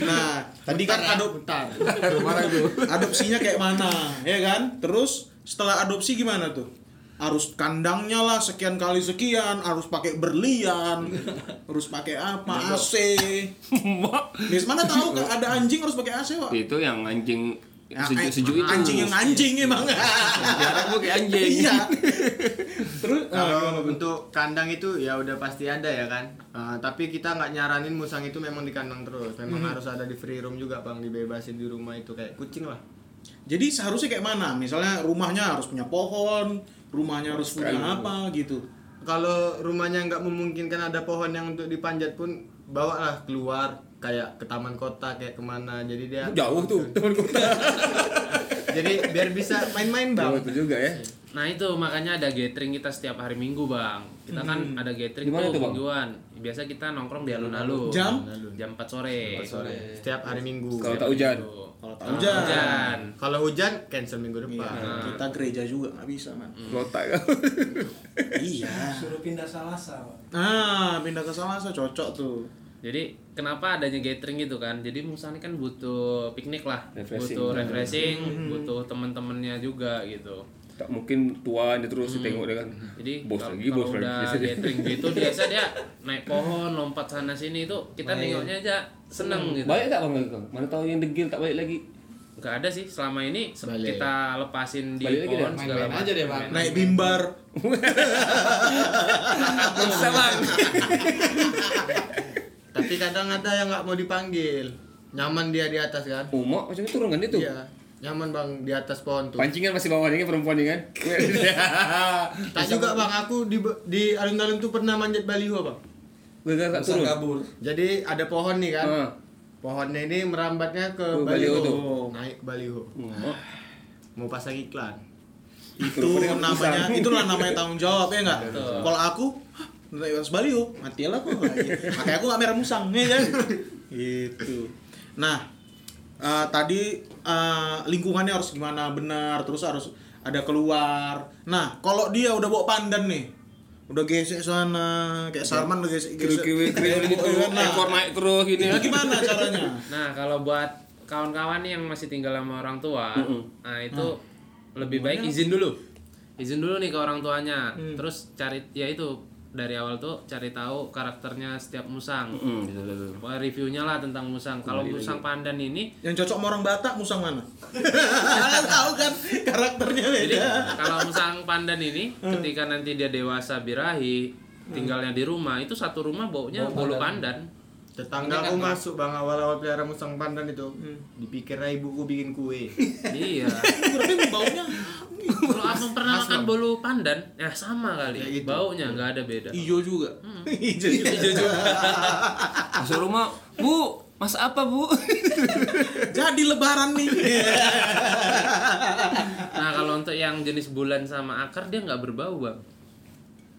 nah tadi kan
ya,
adop
Marah tuh.
adopsinya kayak mana ya kan terus setelah adopsi gimana tuh harus kandangnya lah sekian kali sekian harus pakai berlian harus pakai apa AC Nis mana tahu kan ada anjing harus pakai AC
Iya,
Wak?
Itu yang anjing
Ya,
sejuk-sejuk itu.
anjing yang anjing
Iya.
emang
Jarak gua kayak anjing.
iya terus
kalau untuk kandang itu ya udah pasti ada ya kan Ah, tapi kita nggak nyaranin musang itu memang di kandang terus
Mhm.
memang harus ada di free room juga bang dibebasin di rumah itu kayak kucing lah
jadi seharusnya kayak mana misalnya rumahnya harus punya pohon rumahnya harus punya apa gitu
kalau rumahnya nggak memungkinkan ada pohon yang untuk dipanjat pun bawalah keluar kayak ke taman kota kayak kemana jadi dia
Jauh tuh, teman kota.
jadi biar bisa main-main bang
juga ya.
Nah itu makanya ada gathering kita setiap hari Minggu bang. Kita kan ada
Di
gathering
mana
tuh
itu, Hmm. Bang?
mingguan. Biasa kita nongkrong di alun-alun.
Jam?
Jam 4 sore. Gitu.
setiap hari minggu
Kalau tak hujan.
kalau tak
Kalau
hujan
hujan.
kalau hujan cancel minggu depan
Iya, kita gereja juga nggak bisa man
Hmm. Lotak kan. kau.
iya
Suruh pindah Salasa, Pak.
ah pindah ke Salasa cocok tuh
Jadi kenapa adanya gathering gitu kan? Jadi Musa ini kan butuh piknik lah,
Refreshing.
butuh refreshing, butuh temen-temennya juga gitu.
Tak mungkin tua dia terus ditengok dia kan.
Hmm. Jadi
bos
kalau-
lagi, bos
kalau udah
lagi.
gathering gitu biasa dia naik pohon, lompat sana sini itu kita nengoknya aja seneng gitu.
Hmm. Banyak tak bang kau? Mana tahu yang degil tak balik lagi.
Gak ada sih selama ini se-
Balik.
kita lepasin di
Balik lagi
pohon
dah.
segala
Main-main aja
macam.
deh, Bang.
Main-main.
naik bimbar
Bisa bang.
tapi kadang ada yang nggak mau dipanggil nyaman dia di atas kan
Umak macam itu turun kan dia tuh.
iya nyaman bang di atas pohon tuh
Pancingan masih bawah ini perempuan ini kan.
tak juga bang aku di di alun-alun tuh pernah manjat baliho bang
Gagal tak
musang
turun.
kabur
jadi ada pohon nih kan
Ah.
pohonnya ini merambatnya ke
Ke baliho
Oh, baliho,
tuh.
naik baliho
Umak.
mau pasang iklan
itu namanya itulah namanya tanggung jawab ya nggak kalau aku "Hah, naik atas baliho mati lah aku makanya aku nggak merah musang ya kan gitu nah eh, tadi eh, lingkungannya harus gimana benar terus harus ada keluar nah kalau dia udah bawa pandan nih udah gesek sana kayak Sarman udah gesek gesek
Kiri-kiri kiri gitu. Ekor naik terus gini
Nah,
kan.
gimana caranya
Nah, kalau buat kawan-kawan nih yang masih tinggal sama orang tua, nah itu lebih baik izin dulu. Izin dulu nih ke orang tuanya. Terus cari ya itu dari awal tuh cari tahu karakternya setiap musang.
Mm, betul, betul.
Wah, reviewnya lah tentang musang. Kalau musang pandan ini
Yang cocok sama orang Batak musang mana? Tahu kan karakternya
jadi
beda.
kalau musang pandan ini ketika nanti dia dewasa birahi tinggalnya di rumah itu satu rumah baunya
Bau
bolu
pandan.
pandan.
Tetangga aku masuk kan, bang awal-awal pelihara musang pandan itu Dipikirnya ibuku bikin kue
iya.
Tapi baunya
Kalau abang pernah makan bolu pandan, ya sama kali.
Ya Iya. gitu.
Baunya nggak ada beda.
hijau juga. Iya, Hijau juga.
Masuk rumah, Bu, Mas apa, Bu?
Jadi lebaran nih.
Nah kalau untuk yang jenis bulan sama akar dia nggak berbau bang.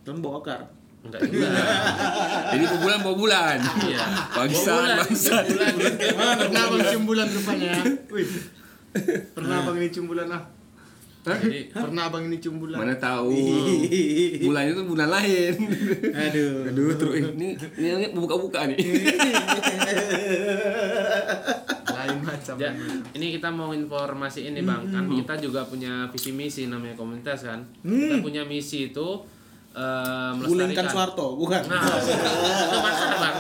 Tembok akar.
Enggak
Iya.
juga.
Jadi bulan bawa bulan.
Iya.
Bangsat,
Bulan,
bangsat.
bulan.
Pernah bang cium bulan rupanya Wih. Pernah bang ini cium bulan ah
Jadi
Pernah bang ini cium bulan
Mana tahu.
Iya.
Bulan itu bulan lain.
Aduh.
Aduh, terus ini ini ini buka-buka nih.
Lain macam
Ja- ya, ini kita mau informasi ini bang kan kita juga punya visi misi namanya komunitas kan
Hmm.
kita punya misi itu eh,
Gulingkan
melestarikan
Soeharto, bukan?
nah itu masalah bang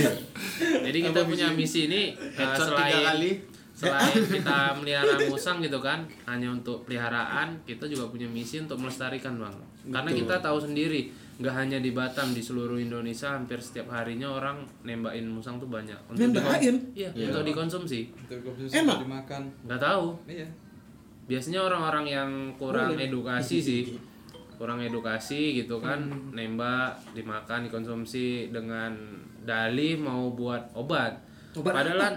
jadi kita punya misi ini eh,
Headshot tiga
selain
kali
selain kita melihara musang gitu kan hanya untuk peliharaan kita juga punya misi untuk melestarikan bang karena kita tahu sendiri nggak hanya di Batam di seluruh Indonesia hampir setiap harinya orang nembakin musang tuh banyak untuk
Nembakin?
dikon- iya untuk dikonsumsi
Itu kopi susu
Enak?
dimakan.
nggak tahu
Iya.
biasanya orang-orang yang kurang
Iya,
edukasi sih kurang edukasi gitu kan
Hmm.
nembak dimakan dikonsumsi dengan dalih mau buat obat,
Obat
padahal kan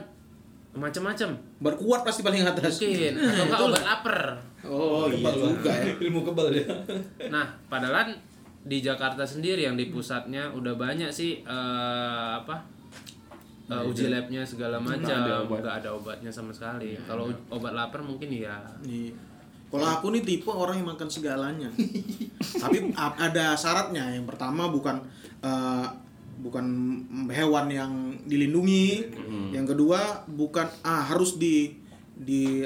macam-macam
Berkuat pasti paling atas.
mungkin atau enggak obat lapar
Oh, iya juga ya.
Ilmu kebal dia.
nah padahal di Jakarta sendiri yang di pusatnya udah banyak sih eh, apa eh, uji labnya segala macam
ada obat.
nggak ada obatnya sama sekali kalau obat lapar mungkin ya
Iya. Kalau aku nih tipe orang yang makan segalanya. Tapi a- ada syaratnya. Yang pertama bukan eh, bukan hewan yang dilindungi. Yang kedua bukan ah harus di di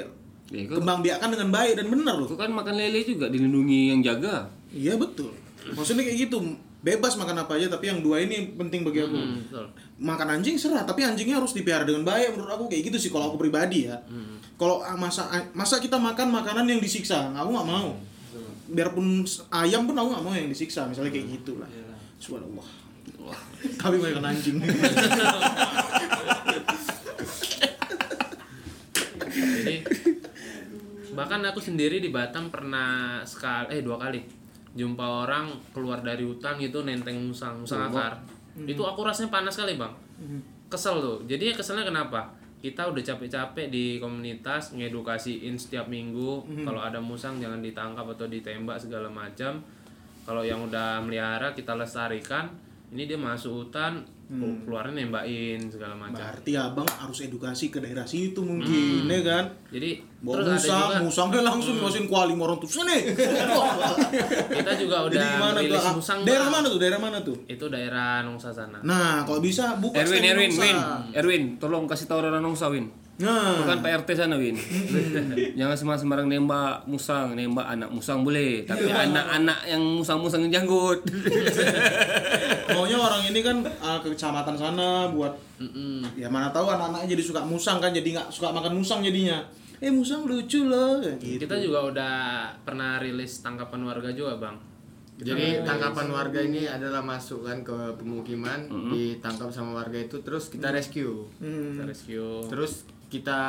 Ya, itu-
kembang biakan dengan baik dan benar loh.
Itu kan makan lele juga dilindungi yang jaga.
Iya betul. Maksudnya kayak gitu bebas makan apa aja tapi yang dua ini penting bagi aku.
Hmm, betul
makan anjing serah tapi anjingnya harus dipelihara dengan baik menurut aku kayak gitu sih kalau aku pribadi ya
Hmm.
kalau ah, masa masa kita makan makanan yang disiksa aku nggak mau biarpun s- ayam pun aku nggak mau yang disiksa misalnya
Hmm.
kayak gitu lah
Iya.
subhanallah tapi makan anjing
jadi bahkan aku sendiri di Batam pernah sekali eh dua kali jumpa orang keluar dari hutan gitu nenteng musang musang akar
Hmm.
itu aku rasanya panas sekali bang kesel tuh jadi ya keselnya kenapa kita udah capek-capek di komunitas ngedukasiin setiap minggu
Hmm.
kalau ada musang jangan ditangkap atau ditembak segala macam kalau yang udah melihara kita lestarikan ini dia masuk hutan
Hmm.
keluarnya nembakin segala macam
berarti abang harus edukasi ke daerah situ mungkin ya kan
jadi
Bawa
Hmm. terus ada juga Hmm.
musang, musangnya langsung dimasukin kuali sama orang tuh sini.
kita juga
Jadi
udah
gimana tuh?
rilis
ah?
musang
daerah
Bang.
mana tuh? Daerah mana tuh?
itu daerah Nongsa sana
Nah, kalau bisa buka
Erwin,
stand
Erwin,
nusa.
Win. Erwin, tolong kasih tahu orang Nongsa, Win.
Nah,
Bukan Pak RT sana, Win. Jangan sembarang-sembarang nembak musang, nembak anak musang boleh, tapi anak-anak yang musang-musang yang janggut.
maunya orang ini kan ah, ke kecamatan sana buat ya mana tahu anak-anaknya jadi suka musang kan jadi nggak suka makan musang jadinya eh musang lucu loh kayak gitu
kita juga udah pernah rilis tangkapan warga juga bang
Jadi tangkapan warga ini adalah masukkan ke pemukiman Ditangkap sama warga itu terus kita rescue
Mm.
kita
Hmm.
rescue
Oh.
Terus kita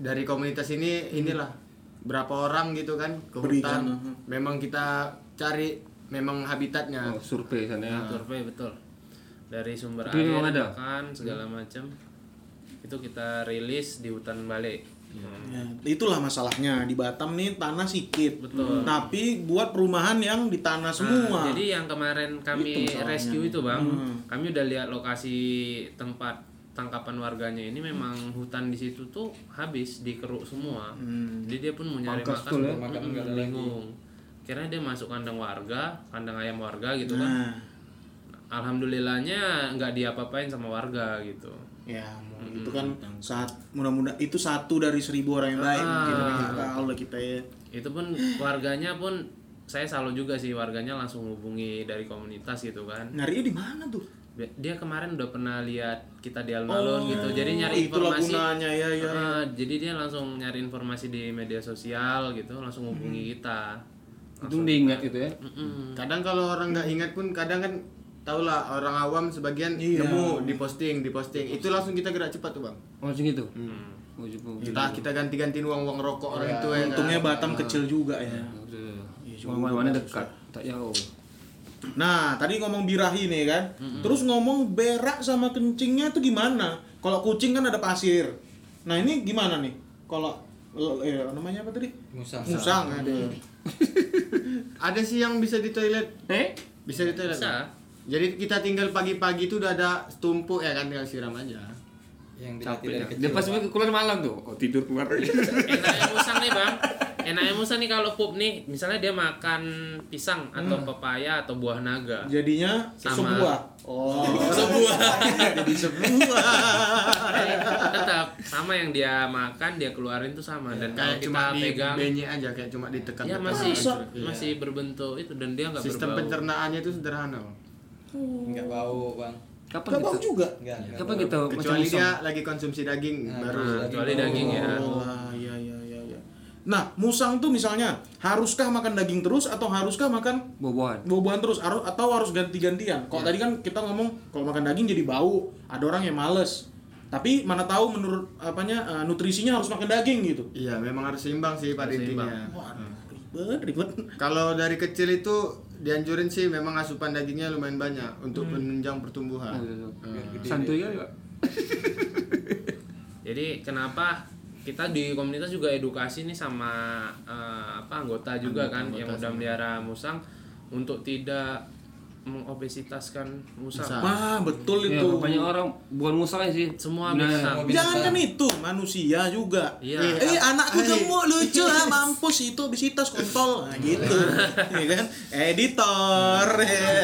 dari komunitas ini
Mm.
inilah berapa orang gitu kan ke
Berikan,
hutan. Memang kita cari memang habitatnya.
Oh, survei sana ya.
survei betul dari sumber
Tapi
air
memang ada?
makan segala
Hmm.
macam itu kita rilis di hutan balik
Ya, itulah masalahnya di Batam nih tanah sedikit
Betul.
tapi buat perumahan yang di tanah semua Hmm.
Nah, jadi yang kemarin kami rescue itu bang, kami udah lihat lokasi tempat tangkapan warganya ini memang hutan di situ tuh habis dikeruk semua.
Hmm.
Jadi dia pun mau nyari
Pangkas
makan,
tuh ya.
mm,
Makan nggak ada
bingung. Karena dia masuk kandang warga, kandang ayam warga gitu kan.
nah
Alhamdulillahnya nggak diapa-apain sama warga gitu.
ya mau itu kan saat mudah-mudahan itu satu dari seribu orang yang baik mungkin
Ah.
kita Allah kita ya
Itu pun warganya pun saya salut juga sih warganya langsung hubungi dari komunitas gitu kan
Nyarinya di mana tuh?
Dia- dia kemarin udah pernah lihat kita di
Oh,
alun-alun gitu jadi nyari
Nah, itulah
informasi
gunanya
Iya,
ya ya.
Eh, jadi dia langsung nyari informasi di media sosial gitu langsung
Hmm.
hubungi kita
itu diingat gitu ya
Mm.
Mm-mm.
kadang kalau orang nggak ingat pun kadang kan tau lah orang awam sebagian
Iya.
nemu di posting di posting itu langsung kita gerak cepat tuh bang
Oh, langsung gitu oh, jepung.
kita kita ganti-gantiin uang uang rokok orang itu ya kan?
Iya. Untungnya
Nah.
Batam kecil juga ya.
mana dekat tak jauh
Nah, tadi ngomong birahi nih kan. Terus ngomong berak sama kencingnya itu gimana? Kalau kucing kan ada pasir. Nah, ini gimana nih? Kalau eh, namanya apa tadi?
musang
Musang ada.
ada sih yang bisa di toilet
eh
bisa di toilet
Bisa.
Bang? jadi kita tinggal pagi-pagi itu udah ada tumpuk ya kan tinggal siram aja
yang dilatih dari kecil
dia pas
Bang.
keluar malam tuh oh tidur keluar
enaknya musang nih bang enaknya musang nih kalau pup nih misalnya dia makan pisang atau
Hmm.
pepaya atau buah naga
Jadinya
Sama.
sebuah. Oh, sebuah. Jadi sebuah.
Iya.
tetap sama yang dia makan dia keluarin tuh sama dan kalau
kayak
kita
cuma di
pegang
benyek aja kayak cuma ditekan
ya
tekan
masih
gitu. Iya.
masih berbentuk itu dan dia nggak
sistem
berbau
pencernaannya itu sederhana Bang.
nggak bau bang
kapan
gitu.
Gak bau
kita
juga.
nggak nggak
gitu? kapan
bau.
kita macam
kecuali
musang
dia lagi konsumsi daging
Nah,
baru
terus
kecuali daging ya
Oh, lah, ya, ya, ya, ya. Nah, musang tuh misalnya haruskah makan daging terus atau haruskah makan
buah-buahan
buah-buahan terus harus- atau harus ganti-gantian.
Iya.
Kalau tadi kan kita ngomong kalau makan daging jadi bau, ada orang yang males. Tapi mana tahu menurut apanya eh, nutrisinya harus makan daging gitu.
iya memang harus seimbang sih pada intinya
Hmm.
Waduh, ribet, ribet.
Kalau dari kecil itu dianjurin sih memang asupan dagingnya lumayan banyak untuk menunjang pertumbuhan.
santuy kali pak
Jadi kenapa kita di komunitas juga edukasi nih sama eh, apa anggota juga kan yang udah melihara musang untuk tidak mengobesitaskan musang.
Musang.
Wah, betul
ya,
Iya,
itu.
banyak orang bukan musang sih
Semua
Nah,
musang.
Jangan kan itu manusia juga.
Iya.
Eh anakku gemuk lucu ah mampus itu obesitas kontol nah, gitu. Iya kan? Editor.
Iya.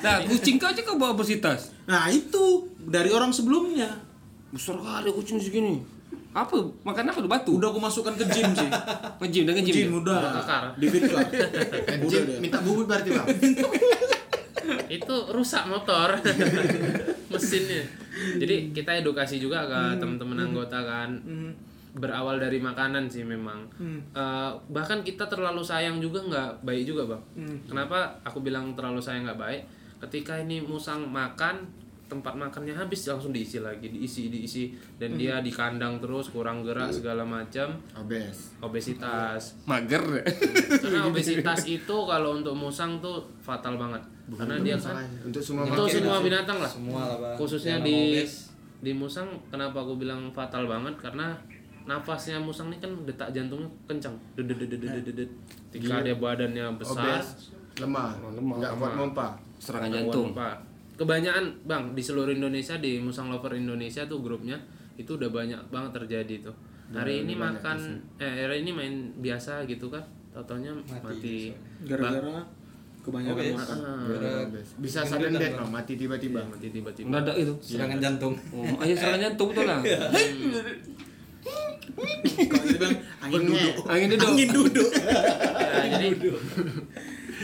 nah kucing kau aja kau bawa obesitas
nah itu dari orang sebelumnya.
besar kali kucing segini apa makan apa tuh batu
Udah aku masukkan ke gym sih.
ngejim dengan
Jin
ya?
ngejim
udah.
kekar.
David Clark. Udah
Anjing,
deh.
minta bubut berarti bang.
Itu rusak motor mesinnya. Jadi kita edukasi juga ke teman-teman anggota kan. Berawal dari makanan sih memang.
Hmm.
Eh, bahkan kita terlalu sayang juga nggak baik juga bang. Kenapa aku bilang terlalu sayang nggak baik? Ketika ini musang makan tempat makannya habis langsung diisi lagi diisi diisi dan dia di kandang terus kurang gerak segala macam
Obes.
obesitas
mager
karena obesitas itu kalau untuk musang tuh fatal banget karena dia kan
Masalahnya, Untuk semua
itu
makhluk
semua
hidup.
binatang lah
semua lah bang
khususnya
Yang
di
obes.
di musang kenapa aku bilang fatal banget karena nafasnya musang ini kan detak jantungnya kencang Dededededededed. ketika dia badannya besar
Obes. Oh, Lemah. Nggak kuat mompa.
serangan
Gangguan
jantung
lupa. kebanyakan bang di seluruh Indonesia di musang lover Indonesia tuh grupnya itu udah banyak banget terjadi tuh hari ini makan eh hari ini main biasa gitu kan totalnya mati,
Gara-gara kebanyakan
Obes.
makan.
Hmm.
Gara-
Obes. Bisa sudden death bang. Mati tiba-tiba.
Iya, mati tiba-tiba
mendadak itu
serangan jantung
oh, ayo serangan jantung betul lah
Kalau dia bilang, angin duduk.
angin duduk
Angin duduk.
Ya, jadi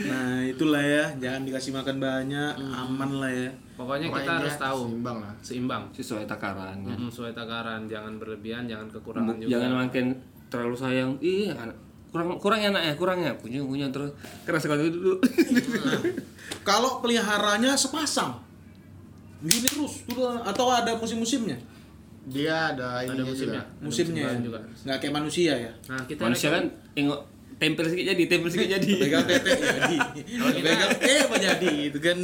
nah, itulah ya, jangan dikasih makan banyak, aman lah ya.
pokoknya kita
Pokoknya
harus tahu
Seimbang lah.
seimbang
sesuai takaran kan.
Mm, sesuai takaran jangan berlebihan jangan kekurangan juga
jangan makin terlalu sayang ih anak kurang kurang enak ya kurangnya punya punya terus keras sekali dulu
Kalau peliharanya sepasang. Gini terus, tuh, atau ada musim-musimnya?
Dia ada ini
ada musimnya
juga.
ada
Musimnya ya.
musimnya juga
Nggak kayak manusia ya.
nah kita
manusia kan tengok tempel sedikit jadi tempel sedikit jadi
Pegang tete jadi. Pegang eh apa jadi gitu kan.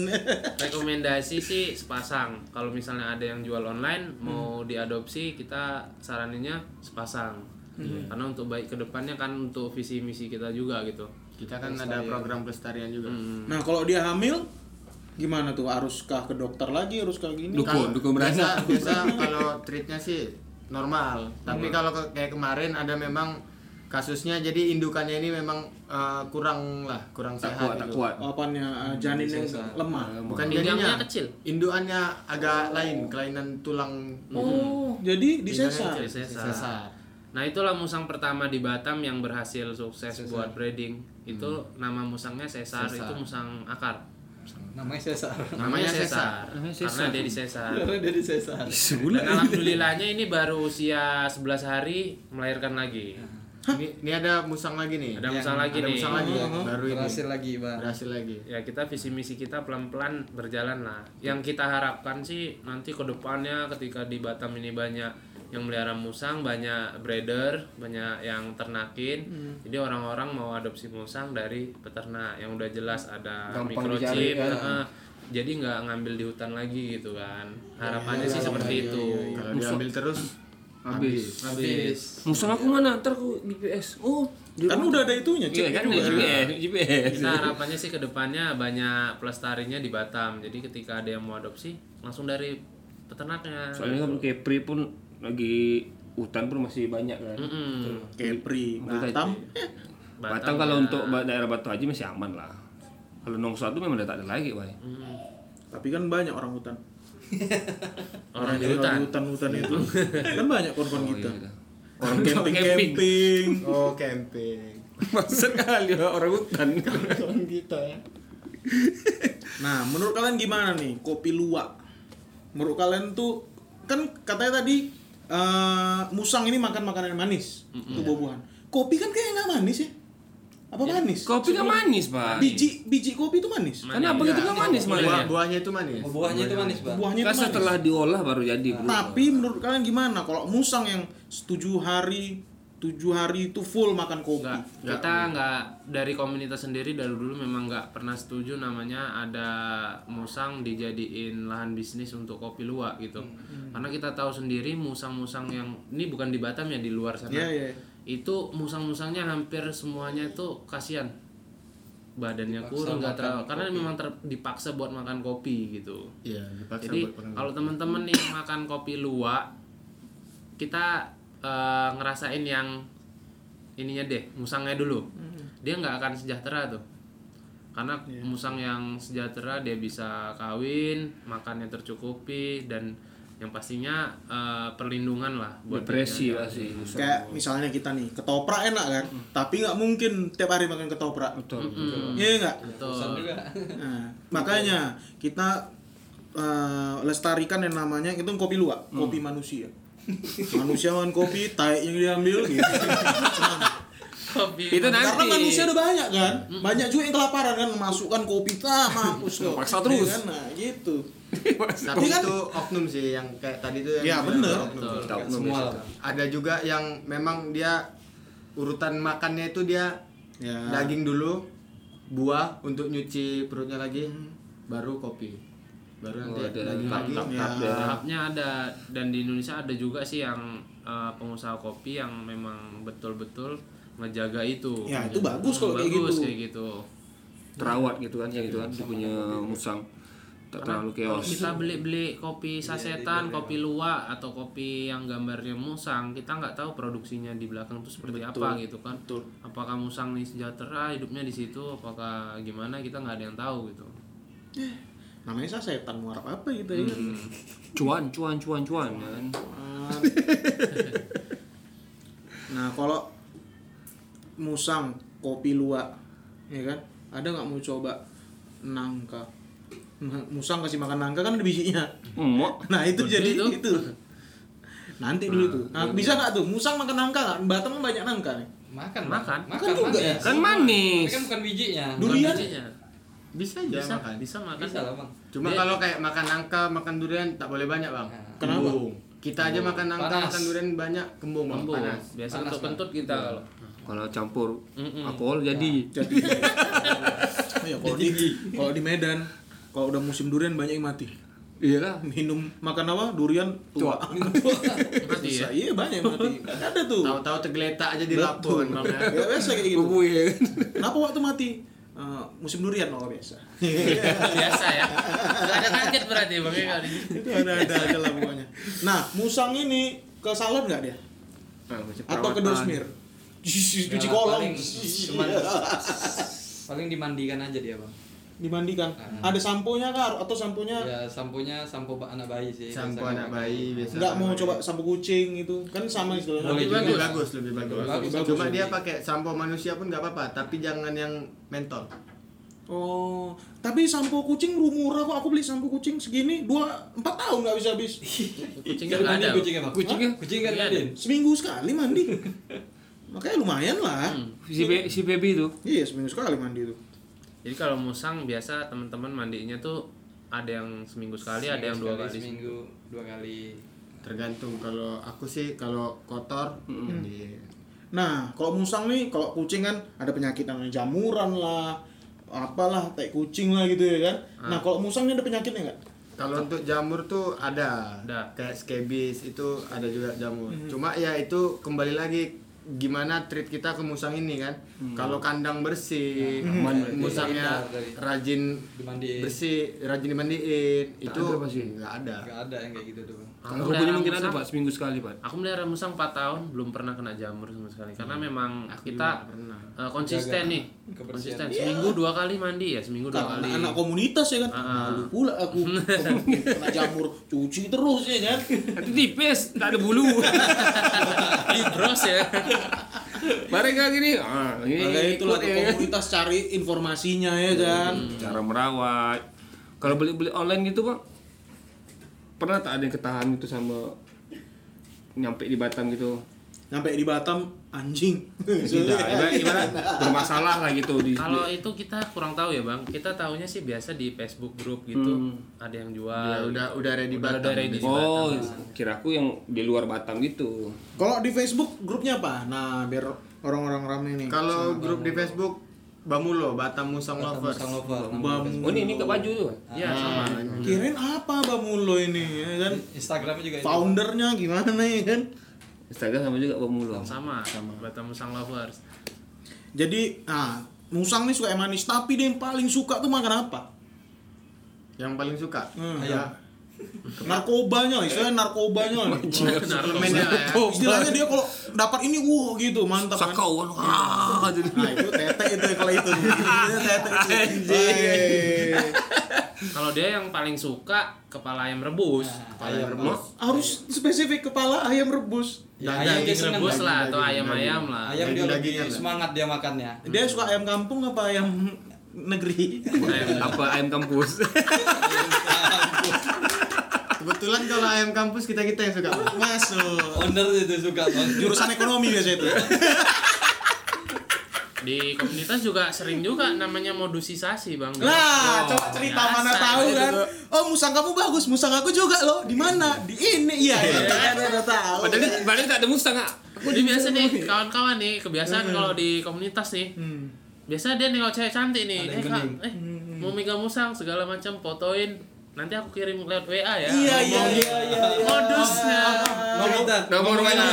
rekomendasi sih sepasang kalau misalnya ada yang jual online mau diadopsi kita saraninnya sepasang karena untuk baik kedepannya kan untuk visi misi kita juga gitu
Kita kan ada program pelestarian juga.
Hmm.
Nah, kalau dia hamil gimana tuh? Haruskah ke dokter lagi, haruskah gini?
dukung dukung beranak
biasa biasa kalau treatnya sih normal tapi kalau ke- kayak kemarin ada memang kasusnya jadi indukannya ini memang eh, kurang lah kurang
tak
sehat
kuat tak
gitu.
kuat
Apanya janin yang lemah.
bukan
Indangnya
jadinya
kecil.
induannya agak lain kelainan tulang
Iya,
Oh, jadi disesar.
Jadi sesar.
sesar
kan Nah itulah musang pertama di Batam yang berhasil sukses buat breeding. Itu nama musangnya Cesar, itu musang akar.
namanya Cesar
Namanya Cesar,
Namanya Caesar.
karena dia di Cesar.
karena dia di Cesar
Sebulan.
Dan alhamdulillahnya ini baru usia 11 hari melahirkan lagi.
Ini, ini ada musang lagi nih.
Ada musang lagi
ada
nih.
musang lagi. Baru ini.
berhasil lagi bang
Berhasil lagi.
Ya kita visi misi kita pelan-pelan berjalan lah. Yang kita harapkan sih nanti ke depannya ketika di Batam ini banyak yang melihara musang, banyak breeder, banyak yang ternakin.
Hmm.
Jadi orang-orang mau adopsi musang dari peternak yang udah jelas ada
Gampang
microchip.
dicari, ya.
heeh. Jadi nggak ngambil di hutan lagi gitu kan.
Iya,
Harapannya sih seperti itu.
Kalau diambil terus
Habis.
Habis.
Musang aku mana? Ntar aku GPS. Oh, di
Kan
rumah.
udah ada itunya,
Iya
cek
kan udah GPS, GPS.
Kita harapannya sih ke depannya banyak pelestarinya di Batam. Jadi ketika ada yang mau adopsi langsung dari peternaknya.
Soalnya kan Kepri pun lagi hutan pun masih banyak kan.
Mm-mm.
Kepri, Batam.
Batam kalau untuk ba- daerah Batu Haji masih aman lah. Kalau nong satu memang udah tak ada lagi, Wai.
Tapi kan banyak orang hutan.
orang di
Orang
hutan.
hutan-hutan itu. kan banyak korban
Gitu.
kita. Orang
iya. Orang
camping-camping.
oh camping.
Maksud kali orang hutan.
Kawan kita ya.
Nah, menurut kalian gimana nih kopi luwak? Menurut kalian tuh kan katanya tadi eh, musang ini makan makanan yang manis, itu buah-buahan. Kopi kan kayaknya nggak manis ya? Apa manis?
Kopi kan manis, Pak.
Biji biji kopi itu manis.
Kenapa
Iya.
gitu kan manis
Buah,
malah?
buahnya itu manis.
buahnya itu manis bang
Buahnya
Kan
itu manis.
setelah diolah baru jadi. bro.
Tapi menurut kalian gimana kalau musang yang tujuh hari tujuh hari itu full makan kopi?
Enggak, kita nggak dari komunitas sendiri dari dulu memang nggak pernah setuju namanya ada musang dijadiin lahan bisnis untuk kopi luwak gitu.
Hmm,
Karena kita tahu sendiri musang-musang yang ini bukan di Batam ya di luar sana.
Iya, iya.
Itu musang-musangnya hampir semuanya itu kasihan. Badannya kurang nggak terlalu karena memang ter- dipaksa buat makan kopi gitu.
Iya, dipaksa
Jadi
buat pengen-
kalau teman-teman nih yang makan kopi luwak, kita eh, ngerasain yang ininya deh, musangnya dulu. Dia nggak akan sejahtera tuh. Karena
Iya.
musang yang sejahtera dia bisa kawin, makannya tercukupi dan yang pastinya eh, perlindungan lah buat
depresi
dirinya.
pasti.
Kayak misalnya kita nih ketoprak enak kan, tapi nggak mungkin tiap hari makan ketoprak.
Betul.
Iya nggak?
Betul.
Nah, makanya kita eh, lestarikan yang namanya itu kopi luwak, kopi manusia. manusia makan kopi, tai yang diambil gitu.
Kopi.
Itu nanti.
Karena manusia ada banyak kan, banyak juga yang kelaparan kan, masukkan kopi tah mampus kok.
Paksa terus.
Iya kan? Nah, gitu.
Tapi
Tapi kan-
itu oknum sih yang kayak tadi itu yang
Ya,
dibilang
bener.
oknum.
Tahu
semua lah Bang.
Ada juga yang memang dia urutan makannya itu dia
Ya.
daging dulu, buah untuk nyuci perutnya lagi, baru kopi. Baru
Oh,
nanti
ada
daging lagi.
Ya.
Tahapnya ada dan di Indonesia ada juga sih yang eh, pengusaha kopi yang memang betul-betul ngejaga itu.
Ya, itu bagus kalau kayak gitu.
Bagus kayak gitu.
terawat gitu kan kayak gitu kan dia punya musang tak terlalu
Kalau
chaos
kita beli-beli kopi
Iya,
sasetan, kopi luwak atau kopi yang gambarnya musang, kita nggak tahu produksinya di belakang itu seperti apa gitu kan. Apakah musang nih sejahtera hidupnya di situ, apakah gimana kita nggak ada yang tahu gitu.
Namanya saya setan muarap apa gitu ya. kan?
Hmm.
cuan cuan cuan cuan kan
Nah, kalau musang kopi luwak, ya kan? Ada nggak mau coba nangka? Nah, Musang kasih makan nangka kan ada bijinya.
emak
Nah itu jadi
itu. iya.
itu. Nanti dulu tuh. Nah, bisa nggak tuh? Musang makan nangka nggak? Batam kan banyak nangka nih.
makan Bang.
Makan.
makan
juga ya?
kan
manis.
manis
Tapi kan bukan bijinya
Durian?
Bijinya. Bisa
Bisa
bisa
makan.
bisa makan.
bisa lah Iya, bang
Cuma
Dia-
kalau kayak makan nangka, makan durian tak boleh banyak, Bang.
Kenapa?
Kembung. Kita aja makan nangka,
Panas.
makan durian banyak kembung, Bang.
Kembung.
Panas.
Biasa
Panas,
untuk
Bang.
kentut kita kalau.
Iya.
kalau campur
Mm-mm. Ya.
alkohol jadi
Jadi. Oh ya, kalau di kalau di Medan kalau udah musim durian banyak yang mati.
iyalah
Minum makan apa? Durian tua.
Mati ya.
Susah. Iya banyak yang mati. Ada tuh.
Tahu-tahu tergeletak aja di lapun, Bang. ya.
Ya, biasa kayak gitu.
bubu ya kan
Kenapa waktu mati? Eh, musim durian kalau biasa.
biasa ya nggak ada kaget berarti bang ya kali ini.
Iya. itu ada ada ada lah pokoknya. Nah, musang ini ke salon nggak dia?
Nah, macam
Atau
perawatan.
ke dosmir? Cuci Iya,
Nggak lah,
kolong. Iya.
paling cuman- paling dimandikan aja dia bang
dimandikan. Ada sampo-nya kah atau sampo-nya
ya sampunya sampo ba- anak bayi sih
Sampo
biasanya.
anak bayi biasa.
nggak mau coba sampo kucing gitu. Kan sama istilahnya.
Boleh.
lebih
Bagus.
bagus. lebih bagus.
Bagus,
Cuma
bagus.
dia pakai sampo manusia pun nggak apa-apa, tapi jangan yang mentol.
Oh, tapi sampo kucing ru- murah kok. Aku beli sampo kucing segini dua empat tahun nggak bisa habis.
Kucingnya
Jadi
nggak
mandi
ada.
kucingnya bang
Kucingnya?
Hah? kucing kan
Nggak
ada
ada.
Seminggu sekali mandi. Makanya lumayan lah.
si Be- si baby itu
Iya seminggu sekali mandi itu.
Jadi kalau musang biasa teman-teman mandinya tuh ada yang seminggu sekali, ada yang dua
Sekali
kali.
seminggu dua kali
Tergantung kalau aku sih kalau kotor yang di-
Nah, kalau musang nih, kalau kucing kan ada penyakit namanya jamuran lah, apalah, tai kucing lah gitu ya kan.
Ah.
Nah, kalau musang ini ada penyakitnya nggak?
Kalau untuk jamur tuh ada.
Ada.
Kayak scabies itu ada juga jamur. Cuma ya itu kembali lagi gimana treat kita ke musang ini kan. Kalau kandang bersih, Hmm.
aman berarti.
musangnya
Benar tadi.
rajin
dimandiin
bersih, rajin dimandiin, itu
ada pasti.
nggak ada.
nggak ada yang kayak gitu tuh bang
Aku
kalau rubuhnya
melihara
mungkin ada
musang.
pak seminggu sekali pak
Aku melihara musang 4 tahun belum pernah kena jamur sama sekali karena
Hmm.
memang kita eh, konsisten
Jaga
nih.
kebersihan. Iya.
Konsisten. Seminggu dua kali mandi ya, seminggu dua
Karena
kali.
anak komunitas ya kan.
Ah.
Malu pula aku kena jamur cuci terus ya kan.
itu tipis tak ada bulu
Libros ya.
mereka gini ah ini
Makanya itulah
ikut
tuh,
ya, kan?
komunitas cari informasinya ya kan.
cara merawat kalau beli beli online gitu bang pernah tak ada yang ketahan itu sama nyampe di Batam gitu
Sampai di Batam anjing.
tidak ibarat, ibarat bermasalah lah gitu di,
Kalau itu kita kurang tahu ya, Bang. Kita tahunya sih biasa di Facebook group gitu.
Hmm.
Ada yang jual.
Ya, udah udah ready Batam.
Udah- udah ready.
oh kira aku yang di luar Batam gitu
Kalau di Facebook grupnya apa? Nah, biar orang-orang rame nih.
Kalau grup di Facebook Bamulo Batam Musang Lovers.
Musang lover
Bam-
nama
oh ini ini ke baju tuh
Ya, sama.
Kirain apa Bamulo ini ya kan?
Instagramnya
gitu.
juga itu
Foundernya gimana ya kan?
Instagram sama juga pemulung
Sama. Batam Musang Lovers.
Jadi, nah, musang nih suka yang manis, tapi dia yang paling suka tuh makan apa?
Yang paling suka.
Hmm.
Ya,
Narkobanya, istilahnya narkobanya.
suplemennya lah ya.
Istilahnya dia kalau dapat ini, wow gitu, mantap. kan?
sakau ah, jadi
Nah, itu tete itu ya kalau itu. Itu tete itu. Anjing.
Kalau dia yang paling suka kepala ayam rebus.
Iya. ayam
Rebus.
Harus spesifik kepala ayam rebus.
ya
Daging
ayam dia seneng
rebus
Bang.
lah atau ayam-ayam lah.
ayam dia lebih
Daging-dagingan lah.
semangat dia makannya
ya?
Hmm.
Dia suka ayam kampung apa ayam negeri?
apa ayam kampus
Kebetulan kalau ayam kampus kita kita yang suka.
Masuk.
owner itu suka bang
Jurusan ekonomi biasa itu.
Di komunitas juga sering juga namanya modusisasi, Bang.
Lah,
Oh,
coba cerita
biasa
mana
itu
tahu kan.
tuh.
Oh, musang kamu bagus, musang aku juga loh. Di mana? Di ini. Iya, iya, kan udah
Oh,
tahu.
padahal dia- padahal dia tak ada mustang ah.
Udah biasa nih kawan-kawan nih kebiasaan kalau di komunitas nih.
Hmm.
Biasa dia nih kalau cewek cantik nih,
Ada
eh,
yang
Kak,
gening.
eh mau megang musang segala macam fotoin. Nanti aku kirim lewat WA ya.
Iya, iya,
Ngomong-
iya, iya.
Modusnya.
Nomor kita
nomor mana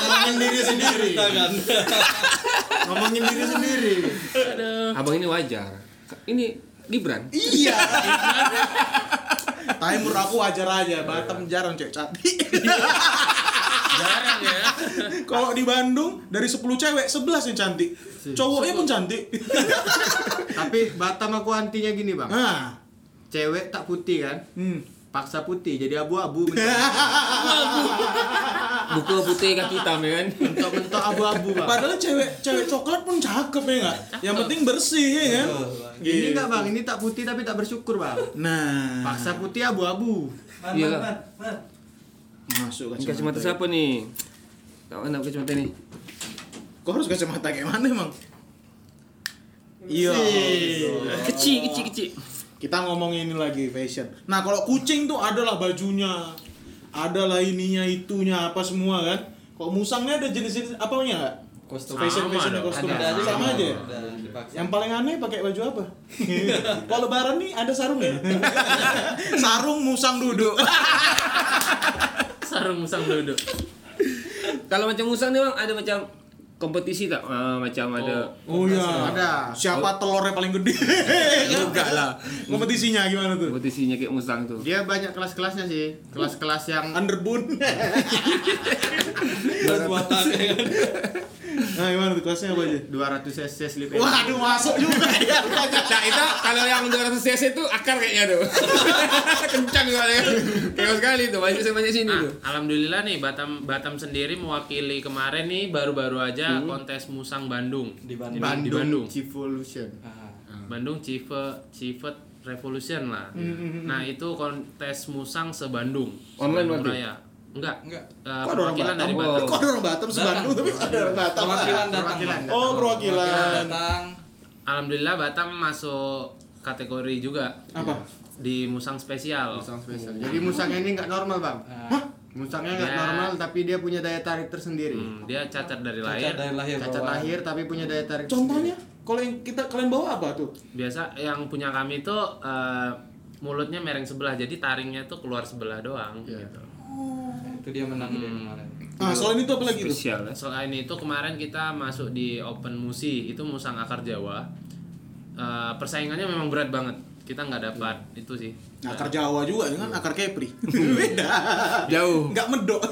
Ngomongin diri sendiri.
kan?
Ngomongin diri sendiri.
Aduh.
abang ini wajar ini Gibran
Iya. Tapi menurut aku wajar aja,
Iya.
Batam jarang cewek cantik.
Jarang ya.
Kalau di Bandung dari 10 cewek 11 yang cantik. Cowoknya pun cantik.
Tapi Batam aku antinya gini bang.
Nah.
Cewek tak putih kan?
Hmm.
Paksa putih jadi abu-abu. mentok-
buku putih kaki hitam ya kan
Mentok-mentok abu-abu bang.
Ya, Padahal cewek cewek coklat pun cakep ya enggak? Yang penting bersih ya kan?
Ini enggak bang, ini tak putih tapi tak bersyukur bang.
Nah,
Paksa putih abu-abu.
Man,
Iya,
man,
Kak.
man, man.
masuk ya.
Ini kacamata siapa nih tahu anak kacamata ini
Kok harus kacamata kayak mana emang? Iya.
kecil kecil kecil
Kita ngomongin ini lagi fashion. Nah, kalau kucing tuh adalah bajunya, adalah ininya itunya apa semua kan? Kalau musangnya ada jenis-jenis apanya enggak?
kostum
Fashion
Sama
fashion
dong.
kostum
ada aja
sama aja. ya?
Ada, dipaksa.
Yang paling aneh pakai baju apa? Kalau lebaran nih ada sarung ya? sarung musang duduk.
Sarung musang duduk.
kalau macam musang nih bang ada macam kompetisi tak Ah, macam ada
Oh iya.
Ada.
Siapa telurnya paling gede? Enggak lah. Kompetisinya gimana tuh?
kompetisinya kayak musang tuh
Dia banyak kelas-kelasnya sih. Kelas-kelas yang
Underbun.
Terus buat apa, ya kan?
Nah, gimana tuh kelasnya apa aja?
200 cc slip and
Waduh, masuk juga ya.
Nah itu kalau yang 200 cc itu akar kayaknya tuh Kencang soalnya Kayak sekali tuh, banyak banyak sini
Nah,
tuh
alhamdulillah nih Batam Batam sendiri mewakili kemarin nih baru-baru aja kontes musang Bandung.
Di Bandung.
Di,
Bandung,
Bandung.
Civolution.
Ah,
Bandung Cive Civet Revolution lah. Nah, itu kontes musang se-Bandung.
Online
Bandung
berarti?
Raya. Enggak.
enggak.
Eh,
Kok ada orang
perwakilan dari
Batam?
Batam.
Kok ada orang Batam sebandung tapi ada orang Batam.
Perwakilan datang.
Perwakilan.
Bang.
Oh, perwakilan.
datang.
Alhamdulillah Batam masuk kategori juga
Apa?
di musang spesial.
Musang spesial. Jadi musangnya ini nggak normal bang.
Nah,
Musangnya nggak
Ya.
normal tapi dia punya daya tarik tersendiri.
Hmm, dia cacat dari
cacat
lahir.
dari lahir
Cacat
bawaan.
lahir tapi punya daya tarik.
Iya, Contohnya, kalau yang kita kalian bawa apa tuh?
Biasa yang punya kami itu eh, mulutnya mereng sebelah, jadi taringnya tuh keluar sebelah doang
Iya.
gitu.
Itu dia menang dia kemarin.
Ah, soalnya itu apa lagi tuh?
Spesial ya
Selain itu kemarin kita masuk di Open Musi, itu musang akar Jawa. Eh, persaingannya memang berat banget. Kita nggak dapat itu sih.
Nah, Akar Jawa juga, ini kan akar Kepri. Beda.
Ah, Jauh
Nggak medok.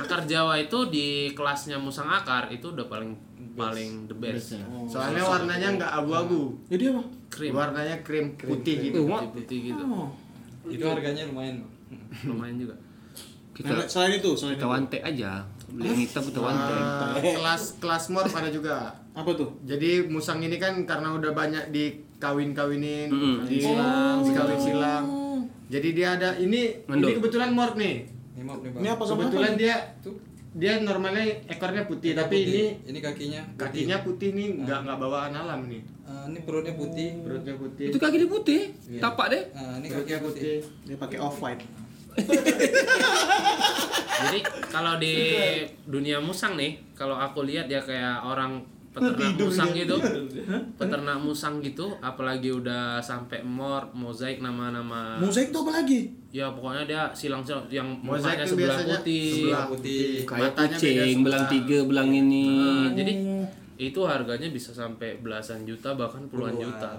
Akar Jawa itu di kelasnya musang akar itu udah paling paling the best.
Soalnya warnanya nggak abu-abu.
Jadi apa?
Krim
Warnanya krim putih gitu.
putih gitu.
Oh.
Itu harganya lumayan. Bang.
Lumayan juga.
Kita
Nah, Selain itu, selain
kita
itu.
wantek aja Beli yang hitam kita wantek
Ah, kelas kelas mor ada juga.
Apa tuh?
Jadi musang ini kan karena udah banyak dikawin-kawinin,
Mm-mm.
di silang, dikawin silang. Jadi dia ada ini ini
Mendol.
kebetulan morph nih.
Ini maaf nih, Bang.
Ini apa Oh, sama apa?
Kebetulan
nih?
dia
Tuh.
dia normalnya ekornya putih, tapi
Putih.
ini
ini kakinya putih.
kakinya putih nih, nggak nggak bawaan alam nih.
Eh, ini perutnya putih.
Perutnya putih.
Itu kan kaki dia putih
Ya.
Tapak deh
Eh, ini
Perutnya
kakinya putih.
putih.
Dia pakai off white.
Jadi kalau di dunia musang nih, kalau aku lihat ya kayak orang peternak
Tidur
musang
dia.
gitu, peternak musang gitu, apalagi udah sampai mor, mozaik nama-nama,
Mozaik tuh apa lagi?
ya pokoknya dia silang-silang yang
Mozaik
mukanya
itu
sebelah
biasanya
putih.
sebelah
putih.
putih.
Kayak
Matanya beda lah.
kucing,
sebelah.
belang tiga, belang ini
Nah, jadi itu harganya bisa sampai belasan juta bahkan puluhan
Puluhan.
juta.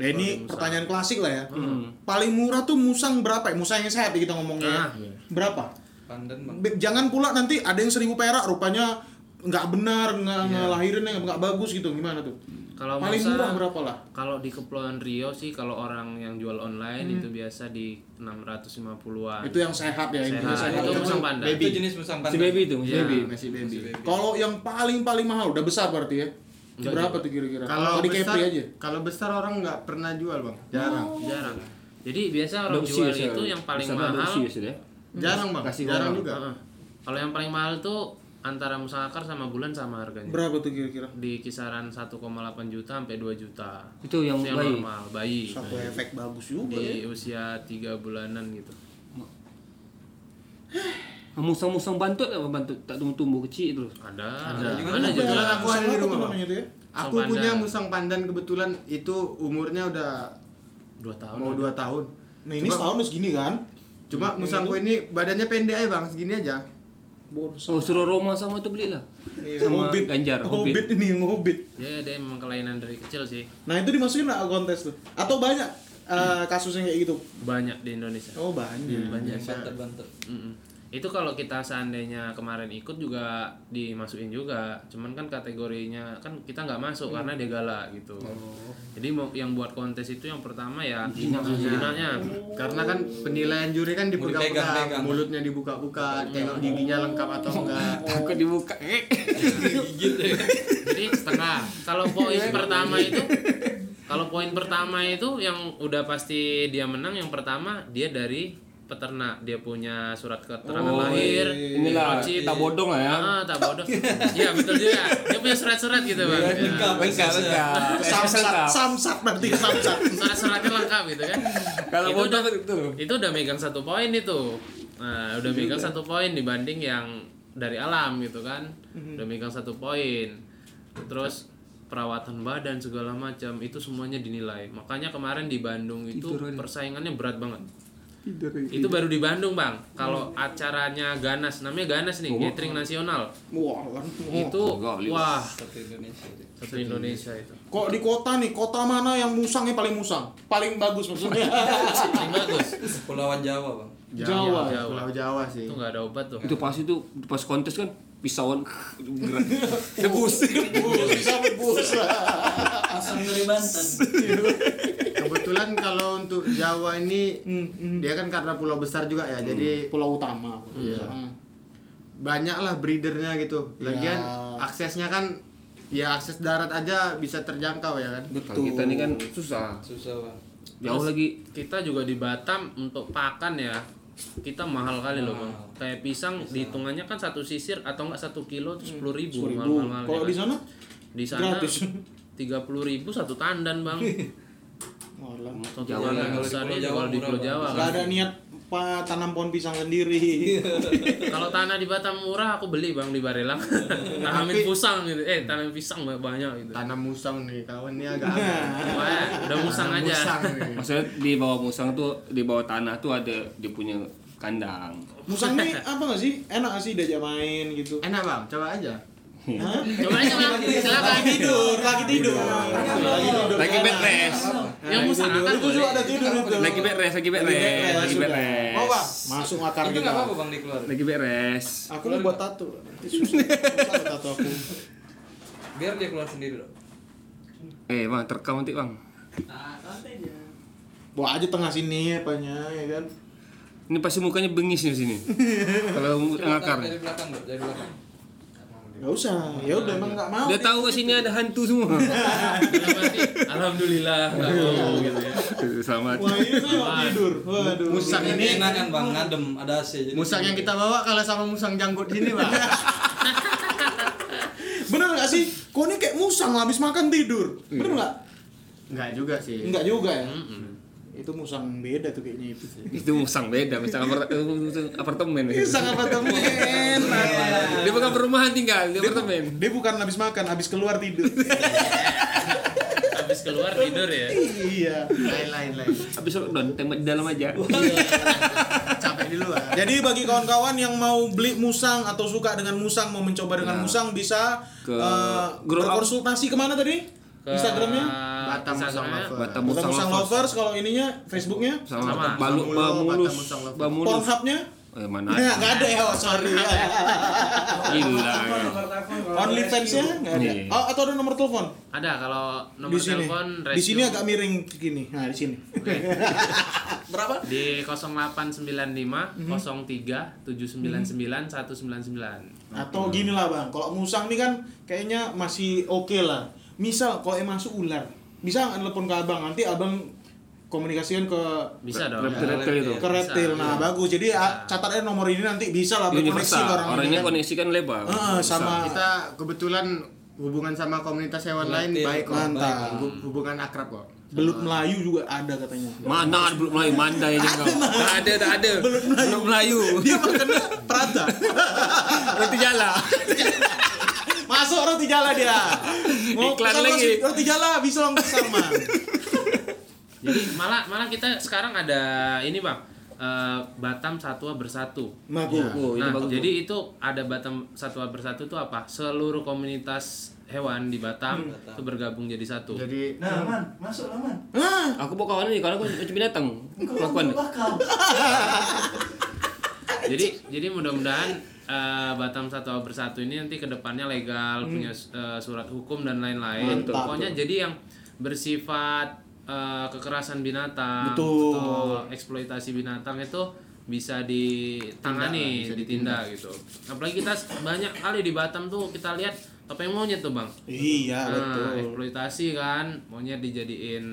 Ya ini
Musang.
pertanyaan klasik lah ya.
Hmm.
Paling murah tuh musang berapa ya? Musang yang sehat ya kita
Ah,
Nah.
ngomongnya. ya.
iya.
Berapa?
Pandan bang.
Be- Jangan pula nanti ada yang seribu perak rupanya nggak benar nggak
Iya.
ngelahirin yang nggak bagus gitu gimana tuh?
Kalau
Paling
musang-
murah berapa lah?
Kalau di Kepulauan Rio sih kalau orang yang jual online itu biasa di 650-an.
Itu yang sehat ya intinya
Sehat.
sehat.
Itu musang pandan.
Itu jenis musang pandan.
Si baby itu
Iya.
baby
Ah, Masih baby.
Kalau yang paling paling mahal udah besar berarti ya. Berapa tuh
Ya.
kira-kira?
Kalau
Apa di
besar,
Kepri aja.
kalau besar orang nggak pernah jual bang, jarang,
jarang. Jadi biasa orang
Adopsi
jual
biasanya.
itu yang paling
ya. Bisa
mahal.
adopsi biasanya ya.
jarang bang,
Kasih
jarang
orang.
juga.
Heeh. Kalau yang paling mahal tuh antara musang akar sama bulan sama harganya.
Berapa tuh kira-kira?
Di kisaran 1,8 juta sampai 2 juta.
Itu yang
Itu yang
bayi.
normal, bayi.
Satu efek bagus juga ya.
Iya.
Di usia 3 bulanan gitu.
Ah, Musang-musang bantut apa bantut tak tumbuh-tumbuh kecil terus.
Ada.
Ada juga.
Ada
Ada
juga.
juga. aku ada di
Apa ya? tuh
rumah, Bang.
namanya tuh ya?
Aku
Musang
punya
pandan.
musang pandan kebetulan itu umurnya udah
2 tahun.
mau dua tahun.
Nah ini
Coba-
setahun udah segini kan?
Cuma musangku ini badannya pendek aja bang, segini aja.
Oh suruh Roma sama itu belilah. Iya, Sama
Hobbit.
Ganjar,
Hobbit.
Hobbit.
ini yang Hobbit.
Dia Iya, dia memang kelainan dari kecil sih.
Nah itu dimasukin nggak ke kontes tuh? Atau banyak eh, kasus yang kayak gitu?
Banyak di Indonesia.
Oh banyak.
Banyak.
Pandan bantet.
Mm-mm. Hmm. Itu kalau kita seandainya kemarin ikut juga dimasukin juga, cuman kan kategorinya kan kita nggak masuk karena dia galak gitu. Jadi mau- yang buat kontes itu yang pertama ya jinaknya.
Karena
Oh.
kan penilaian juri kan dipegang-pegang,
dipegang-pegang.
mulutnya dibuka-buka, tengok giginya lengkap atau
Oh.
enggak.
Takut dibuka. Eh.
Jadi setengah. Kalau poin pertama itu kalau poin pertama itu yang udah pasti dia menang yang pertama dia dari peternak dia punya surat keterangan lahir
Oh, eh. iya, Inilah
logip.
tak bodong lah ya.
ah tak bodoh iya betul juga dia punya surat-surat gitu bang Ya.
Lengkap, lengkap.
Samsat,
Lengkap.
samsat berarti samsat.
surat-suratnya lengkap gitu kan
Kalau
itu
bodong
udah,
kan itu.
itu udah megang satu poin itu nah udah megang satu poin dibanding yang dari alam gitu kan udah megang satu poin terus perawatan badan segala macam itu semuanya dinilai makanya kemarin di Bandung itu persaingannya berat banget itu baru di Bandung bang kalau acaranya ganas namanya ganas nih gathering nasional
Wah, kan.
itu
goli.
wah
Satu Indonesia.
satu Indonesia itu
Kok di kota nih, kota mana yang musangnya paling musang? Paling bagus maksudnya.
paling bagus
Pulauan Jawa bang.
Jawa.
Pulau Jawa sih.
itu nggak ada obat tuh
Itu pas itu pas kontes kan pisauan gerak. Debus.
bisa busa.
asam dari Banten
Kebetulan kalau untuk Jawa ini dia kan karena pulau besar juga ya. Jadi
Hmm.
Pulau utama.
Iya.
Hmm.
banyaklah breedernya gitu. Lagian
Ya.
aksesnya kan ya akses darat aja bisa terjangkau ya kan.
Kalau
Gitu.
kita ini kan susah.
susah bang
Jauh
Terus
lagi.
kita juga di Batam untuk pakan ya kita mahal kali loh bang kayak pisang, dihitungannya kan satu sisir atau enggak satu kilo itu sepuluh ribu,
Seribu.
mahal-mahal ya kan?
Kalau di sana?
di sana
gratis.
tiga puluh ribu satu tandan bang
Walah.
satu
Jawa
tandan
ya.
besarnya
Kalau di Pulau Jawa murah,
jual di Pulau
Bang.
Jawa
Gak
kan.
ada niat pa, tanam pohon pisang sendiri.
kalau tanah di Batam murah aku beli bang di Barelang tanamin pusang gitu eh tanamin pisang banyak gitu
Tanam musang nih kawan ini
Nah.
agak.
Wah, udah musang
Tanam
aja
musang nih.
Maksudnya di bawah musang tuh di bawah tanah tuh ada dia punya kandang.
Musang nih apa gak sih? Enak gak sih diajak main gitu?
Enak bang, coba aja.
Hah?
coba aja bang silakan
Lagi tidur, lagi tidur. Lagi tidur. kan?
Lagi bed rest.
yang musang akan
Itu juga
boleh
ada tidur itu.
Lagi bed rest, lagi bed rest, lagi bed rest.
Mau bang? Masuk akar
itu
kita.
nggak apa-apa bang dikeluarin
Lagi bed rest.
Aku mau buat tato. Nanti susah. Susah buat tato aku.
biar dia keluar sendiri loh
Eh bang, terekam nanti bang.
Bawa aja tengah sini apanya ya kan.
Ini pasti mukanya bengis di sini. Kalau mu- ngakar.
dari belakang loh dari belakang
Gak usah. Ya udah emang gak mau.
Dia tahu ke sini ada hantu semua.
Berarti, alhamdulillah nggak mau gitu ya
Selamat.
Wah ini tuh yang tidur. Waduh.
Musang
ini
ini,
enak kan bang ngadem ada AC jadi gitu.
musang yang kita bawa kalah sama musang janggut ini bang.
Bener gak sih? Kau ini kayak musang habis makan tidur.
Iya.
Bener gak?
Enggak juga sih.
Enggak juga ya. Itu musang beda tuh kayaknya itu. sih.
Itu musang beda, musang apart- eh, apartemen.
Ini Iya, sangat temen.
Dia bukan perumahan tinggal, dia apartemen.
Dia bukan habis makan, habis keluar tidur.
habis keluar tidur ya
iya.
Lain lain lain.
Habis lockdown, tembak di dalam aja.
Capek dulu bang.
Jadi bagi kawan-kawan yang mau beli musang atau suka dengan musang, mau mencoba dengan
Nah.
musang bisa
Ke
eh,
grow up.
berkonsultasi kemana tadi?
Ke
Instagramnya?
Batam musang
Instagramnya.
lover.
Batam
Musang,
musang
musang
lovers.
lovers. Kalau ininya, Facebooknya,
Sama.
Sama balu
Musang Lovers,
bamulus,
Batam Musang Lovers.
bamulus.
Pornhubnya?
Eh mana?
Nah,
ada.
nggak ada ya, oh, sorry.
Gila.
Only
ya?
fansnya nggak ada.
Iya.
Oh, atau ada nomor telepon?
ada kalau nomor
Di sini.
telepon
Di sini
rescue
agak miring ke gini. Nah, di sini. Berapa?
di
Mhm.
0895 03 799 199
Atau gini lah bang, kalau musang nih kan kayaknya masih oke lah. Misal kalau emang masuk ular, bisa nggak telepon ke abang? Nanti abang komunikasikan ke
bisa dong
Reptil-reptil itu.
ke reptil. Nah bagus, jadi ah, catat aja nomor ini nanti bisa lah berkoneksi
Universal.
ke orang
Orangnya
ini kan.
koneksi kan lebar.
Ah, sama
Kita kebetulan hubungan sama komunitas hewan lain
Relatif.
baik kok.
Mantap.
Hub- Hubungan akrab kok.
belut Melayu juga ada katanya.
Mana ada belum Melayu? Mandai aja kau. Tak ada, tak ada. Belum Melayu.
Dia makannya Prada.
Roti jala.
Masuk roti jala dia. Mau
Iklan
pesan
lagi.
roti- Roti jala bisa langsung sama.
jadi malah malah kita sekarang ada ini bang eh, Batam Satwa Bersatu
Mago.
Oh, ini
nah,
bagus.
jadi itu ada Batam Satwa Bersatu itu apa? Seluruh komunitas hewan di Batam
Hmm.
itu bergabung jadi satu.
Jadi
nah
Iya.
man masuk lah man
Ah,
Aku bawa kawan ini karena aku macam binatang. Lakukan.
bakal
jadi jadi mudah-mudahan eh, Batam Satwa Bersatu ini nanti kedepannya legal punya eh, surat hukum dan lain-lain.
Hmm. Mantap.
Pokoknya jadi yang bersifat eh, kekerasan binatang
Betul.
atau eksploitasi binatang itu bisa ditangani, ditindak gitu. Apalagi kita s- banyak kali di Batam tuh kita lihat topeng monyet tuh bang.
iya
Nah,
betul.
eksploitasi kan monyet dijadiin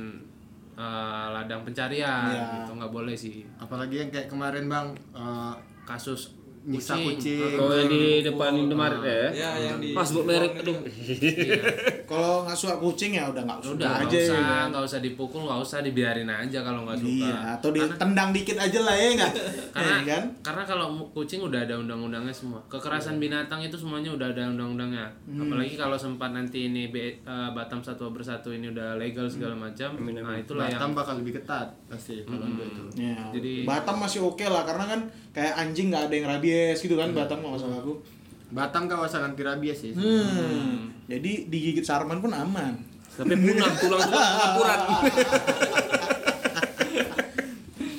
eh, ladang pencarian
Iya.
gitu nggak boleh sih
apalagi yang kayak kemarin bang eh,
kasus
nyiksa kucing.
Kalau yang di depan Indomaret ya.
ya yang di gitu.
Pas buat merek aduh.
Kalau nggak suka kucing ya udah nggak suka aja
Udah, nggak
ya.
usah,
kan?
nggak usah dipukul, nggak usah dibiarin aja kalau nggak suka.
Iya, atau ditendang dikit aja lah ya enggak?
Karena,
ya, kan?
karena kalau mu- kucing udah ada undang-undangnya semua. Kekerasan
Iya.
binatang itu semuanya udah ada undang-undangnya.
Hmm.
Apalagi kalau sempat nanti ini B- eh, Batam Satwa Bersatu ini
Hmm.
udah legal segala macam. Nah, itulah
Batam
yang
bakal lebih ketat pasti kalau untuk itu.
Ya,
Jadi-
Batam masih oke lah karena kan kayak anjing nggak ada yang rabies gitu kan Batam nggak masalah aku.
Batam kawasan anti rabies sih.
Hmm. Jadi digigit sarman pun aman.
Tapi punah tulang tulang akurat.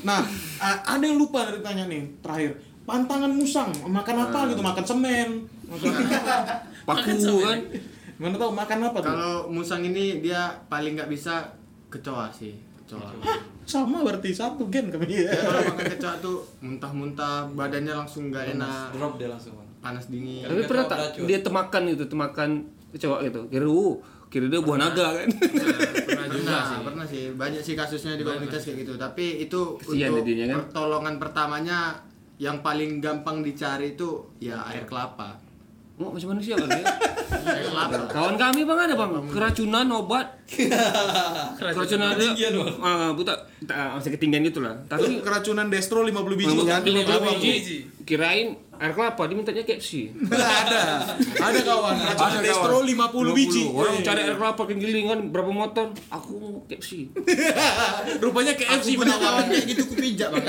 Nah, Hmm. a- ada yang lupa dari tanya nih terakhir. Pantangan musang, makan apa gitu? Makan semen,
paku kan
Mana tahu makan apa tuh?
Kalau musang ini dia paling nggak bisa kecoa sih. Kecoa.
Sama berarti satu gen kami
Dia
ya.
kalau makan kecoa tuh muntah-muntah, badannya langsung nggak enak,
drop dia langsung Bang.
panas dingin.
tapi
Nggak
pernah
tahu
tak
beracun.
dia temakan gitu temakan kecoa gitu kira uh kira dia buah naga kan
pernah juga
Nah,
Pernah,
sih
pernah sih. Banyak sih kasusnya di komunitas kayak gitu. Tapi itu
Kesian
untuk
jadinya, kan?
pertolongan pertamanya yang paling gampang dicari itu ya air kelapa.
mau macam manusia kan ya
Air kelapa.
kawan kami bang ada bang keracunan obat keracunan ada
Ketinggian, Bang.
ah buta tak, masih ketinggian gitu lah tapi
Keracunan destro 50 biji kan?
Lima puluh
50 biji.
biji. kirain air kelapa dia mintanya KFC
ada. Ada kawan, keracunan destro 50 biji. Iya,
orang cari air kelapa kegilingan berapa motor aku mau KFC
Rupanya KFC
Aku penawaran
penawarannya.
kayak gitu ku pijak bang.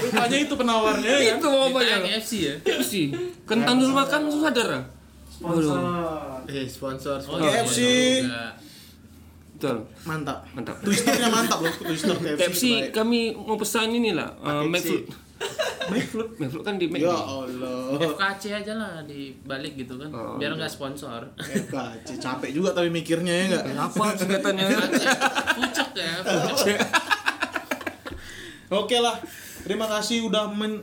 Rupanya itu penawarnya ya.
itu
Ditanya
obatnya
KFC ya
KFC kentang dulu makan langsung sadar lah
Sponsor.
Eh sponsor.
Oh,
sponsor.
iya,
KFC.
juga.
betul
Mantap.
mantap
Twisternya mantap loh, twister KFC.
KFC kami mau pesan ini lah uh, McFlute McFlute McFlute kan di Mac
Ya Allah.
FKC aja lah dibalik gitu kan
Oh,
biar nggak sponsor
FKC capek juga tapi mikirnya ya enggak.
apa singkatannya
pucuk ya pucuk.
Oke lah. Terima kasih udah men-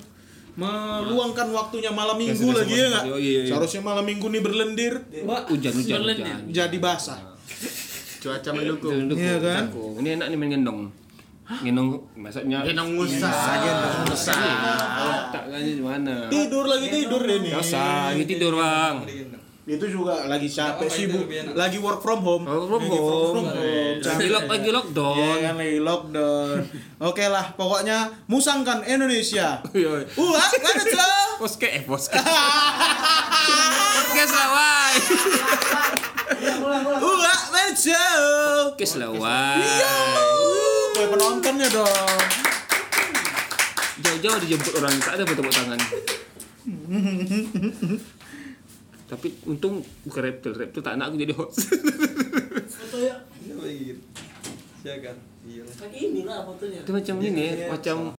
meluangkan waktunya malam minggu
sudah
lagi ya
sama-
enggak?
Yo, iya, iya.
Seharusnya malam minggu nih berlendir
hujan hujan
Berlendir.
hujan
jadi basah.
Cuaca mendukung.
Duduk,
Iya kan?
duduk. ini enak nih main gendong gendong maksudnya
Genong musang.
Iya.
tak kan di mana
Tidur lagi tidur deh nih.
Dosa, lagi tidur bang
Itu juga lagi capek
Nggak apa-apa,
sibuk,
itu lebih enak.
lagi work from home.
Work from
Lagi work
home.
from home.
Oh, lagi lock lagi
Iya
lockdown
kan lagi lockdown. Oke lah, pokoknya musangkan Indonesia.
Yoi.
Wah, mana tuh?
Poske, iya. eh poske Podcast lah wai
Ya,
Ulah Mejo.
Podcast lah wai
Gue penontonnya dong.
Jauh-jauh dijemput orang, tak ada tepuk tangan Tapi untung bukan reptil, reptil tak nak aku jadi host
Foto ya.
Siakan. Iya.
Kayak ini lah fotonya.
Iya,
Itu macam ini, macam